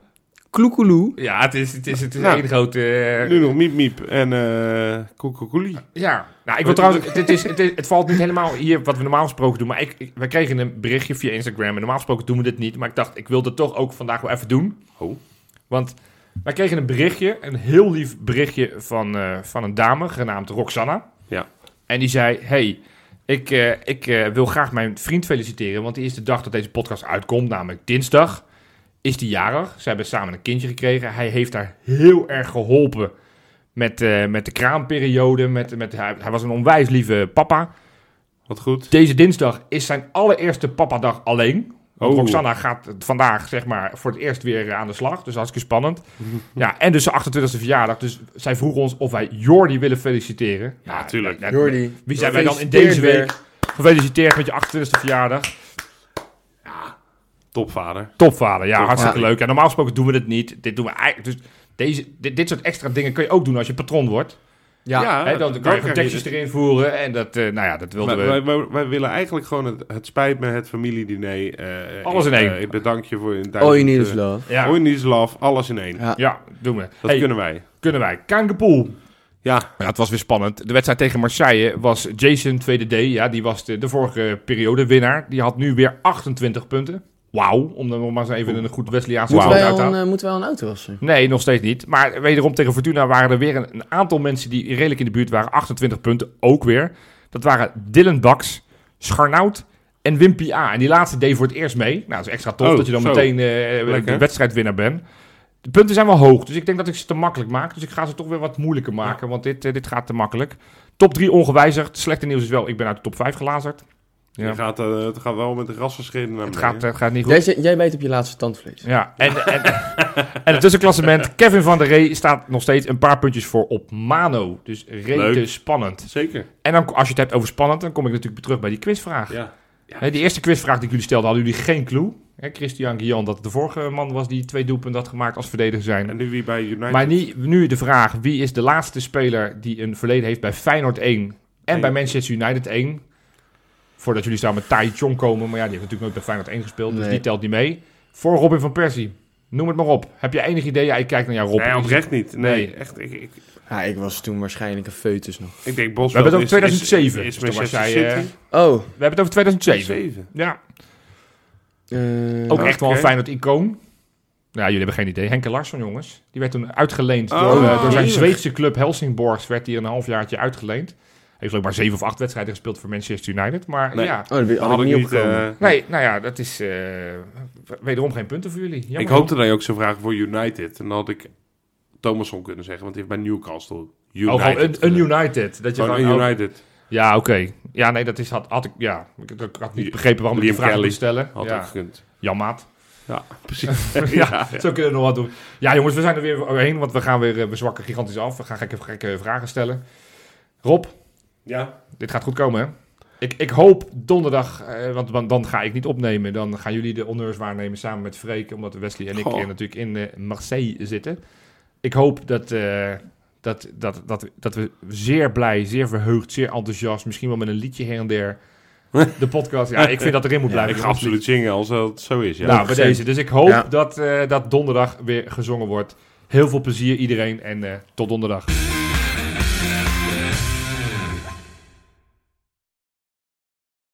C: Kloekeloe.
B: Ja, het is, het is, het is
D: Nou,
B: één grote... eh,
D: Nu nog Miep Miep en eh Koekoekoelie.
B: Ja, nou, ik wil trouwens, dit is, het, is- het valt niet helemaal hier wat we normaal gesproken doen, maar ik, ik- wij kregen een berichtje via Instagram en normaal gesproken doen we dit niet, maar ik dacht, ik wil dat toch ook vandaag wel even doen.
D: Oh.
B: Want wij kregen een berichtje, een heel lief berichtje van, eh, van een dame genaamd Roxanna.
D: Ja.
B: En die zei, hey, ik, eh, ik eh, wil graag mijn vriend feliciteren, want die is de dag dat deze podcast uitkomt, namelijk dinsdag, is die jarig. Ze hebben samen een kindje gekregen. Hij heeft haar heel erg geholpen met, eh, met de kraamperiode. Met, met, hij, hij was een onwijs lieve papa.
D: Wat goed.
B: Deze dinsdag is zijn allereerste papadag alleen. Want
D: Oh.
B: Roxanna gaat vandaag zeg maar, voor het eerst weer eh, aan de slag. Dus
D: [laughs]
B: hartstikke spannend. ja, en dus zijn 28e verjaardag. Dus zij vroeg ons of wij Jordi willen feliciteren.
D: Ja, tuurlijk.
B: nou,
C: Jordi.
B: Wie zijn wij dan in deze week? Gefeliciteerd met je 28e verjaardag.
D: Topvader.
B: Topvader, ja, hartstikke
C: Ja.
B: leuk. En normaal gesproken doen we dit niet. Dit doen we eigenlijk. Dus deze, dit, dit soort extra dingen kun je ook doen als je patron wordt.
C: Ja.
D: Ah,
B: Hè, dan kan je contactjes
D: dit.
B: erin voeren. En dat, eh, nou ja, dat wilden
D: Wij,
B: we.
D: wij, wij- wij willen eigenlijk gewoon het, het spijt me, het familiediner. eh,
B: Alles
D: ik,
B: in één.
D: eh, ik bedank je voor je
C: Oh, you
D: duizend,
C: need
D: eh,
C: is love.
B: ja,
D: All you need is love. Alles in één.
C: Ja.
B: ja, doen we.
D: Dat
B: Hey, kunnen...
D: kunnen wij.
B: wij. Kankerpoel.
D: Ja,
B: Ja, het was weer spannend. De wedstrijd tegen Marseille was Jason 2D. Ja, die was de, de vorige periode winnaar. Die had nu weer 28 punten. Wauw, om dan maar eens even een goed Wesleyaanse
D: Moeten
B: wow. uit
C: Moeten, wij
B: te
C: al
B: halen.
C: een, eh, moeten wij al een auto wassen?
B: Nee, nog steeds niet. Maar wederom tegen Fortuna waren er weer een, een aantal mensen die redelijk in de buurt waren. 28 punten ook weer. Dat waren Dylan Baks, Scharnout en Wimpy A. En die laatste deed voor het eerst mee. Nou, dat is extra tof
D: Oh,
B: dat je dan
D: zo.
B: meteen eh,
D: Lekker.
B: de wedstrijdwinnaar bent. De punten zijn wel hoog, dus ik denk dat ik ze te makkelijk maak. Dus ik ga ze toch weer wat moeilijker maken, want dit, eh, dit gaat te makkelijk. Top 3 ongewijzigd. Het Slechte nieuws is wel, ik ben uit de top 5 gelazerd. Ja.
D: Je gaat, eh, het gaat wel met de rasverschillen naar
B: Het
D: beneden.
B: gaat, het gaat niet goed.
C: Jij, zit- jij weet op je laatste tandvlees.
B: Ja, en, en, en het tussenklassement. Kevin van der Ree staat nog steeds een paar puntjes voor op Mano. Dus rete
D: Leuk.
B: spannend.
D: Zeker.
B: En dan, als je het hebt over spannend, dan kom ik natuurlijk terug bij die quizvraag.
D: Ja.
B: Hè, die eerste quizvraag die ik jullie stelde, hadden jullie geen clue. Hè, Christian Guian, dat de vorige man was die twee doelpunten had gemaakt als verdediger zijn.
D: En nu weer bij United.
B: Maar niet, nu de vraag, wie is de laatste speler die een verleden heeft bij Feyenoord 1 en
D: Nee.
B: bij Manchester United 1? Voordat jullie samen met Tai Chong komen, maar ja, die heeft natuurlijk nooit bij Feyenoord 1 gespeeld, dus
C: Nee.
B: die telt niet mee. Voor Robin van Persie, noem het maar op. Heb je enig idee? Ja, ik kijk naar jou, Rob.
D: Nee, oprecht niet. Nee,
B: Nee.
D: echt. Ik, ik,
C: Ja, ik was toen waarschijnlijk een foetus nog.
D: ik denk
B: We hebben
D: Boswell
B: het over
D: is- is-
B: 2007.
D: Is,
B: Dus dan was
D: Manchester
B: jij, eh,
D: City.
C: Oh.
B: We hebben het over 2007.
D: 2007.
B: Ja,
C: eh,
B: ook echt wel een
D: Oké.
B: Feyenoord-icoon. Ja, jullie hebben geen idee. Henke Larsson, jongens. Die werd toen uitgeleend
D: Oh,
B: door, eh, door zijn
C: jemig.
B: Zweedse club Helsingborgs. Werd hij een halfjaartje uitgeleend. Heeft ook maar zeven of acht wedstrijden gespeeld voor Manchester United. Maar
D: Nee.
B: ja,
C: Oh, daar ben-
D: Dan
C: had ik niet opgekomen.
D: eh,
B: Nee, nou ja, dat is eh, wederom geen punten voor jullie. Jammer.
D: ik hoopte dat je ook zou vragen voor United. En dan had ik Thomasson kunnen zeggen, want die heeft bij Newcastle United.
B: Oh, gewoon een, een
D: gedaan.
B: United. Dat je
D: Gewoon
B: gewoon,
D: een
B: oh,
D: United.
B: Ja, oké. Ja, nee, dat is, had, had ik, ja, ik, ik had niet begrepen waarom ik die
D: Liam
B: vraag
D: Kelly
B: moest stellen.
D: Had ook
B: Ja,
D: gekund.
B: jammaat.
D: Ja, [laughs] precies.
B: ja, zo kunnen we nog wat doen. Ja, jongens, we zijn er weer overheen, want we gaan weer, eh, we zwakken gigantisch af. We gaan gekke, gekke vragen stellen. Rob,
D: ja.
B: dit gaat goed komen, hè? Ik, ik hoop donderdag, eh, want, want dan ga ik niet opnemen. Dan gaan jullie de honneurs waarnemen samen met Freek, omdat Wesley en ik
D: Goh.
B: hier natuurlijk in eh, Marseille zitten. Ik hoop dat, eh, dat, dat, dat, dat we zeer blij, zeer verheugd, zeer enthousiast, misschien wel met een liedje her en [laughs] der, de podcast. Ja, ik vind dat erin moet blijven.
D: ik ga absoluut zingen als dat zo is. Ja.
B: Nou, bij deze. Dus ik hoop
C: Ja.
B: dat, eh, dat donderdag weer gezongen wordt. Heel veel plezier iedereen en eh, tot donderdag.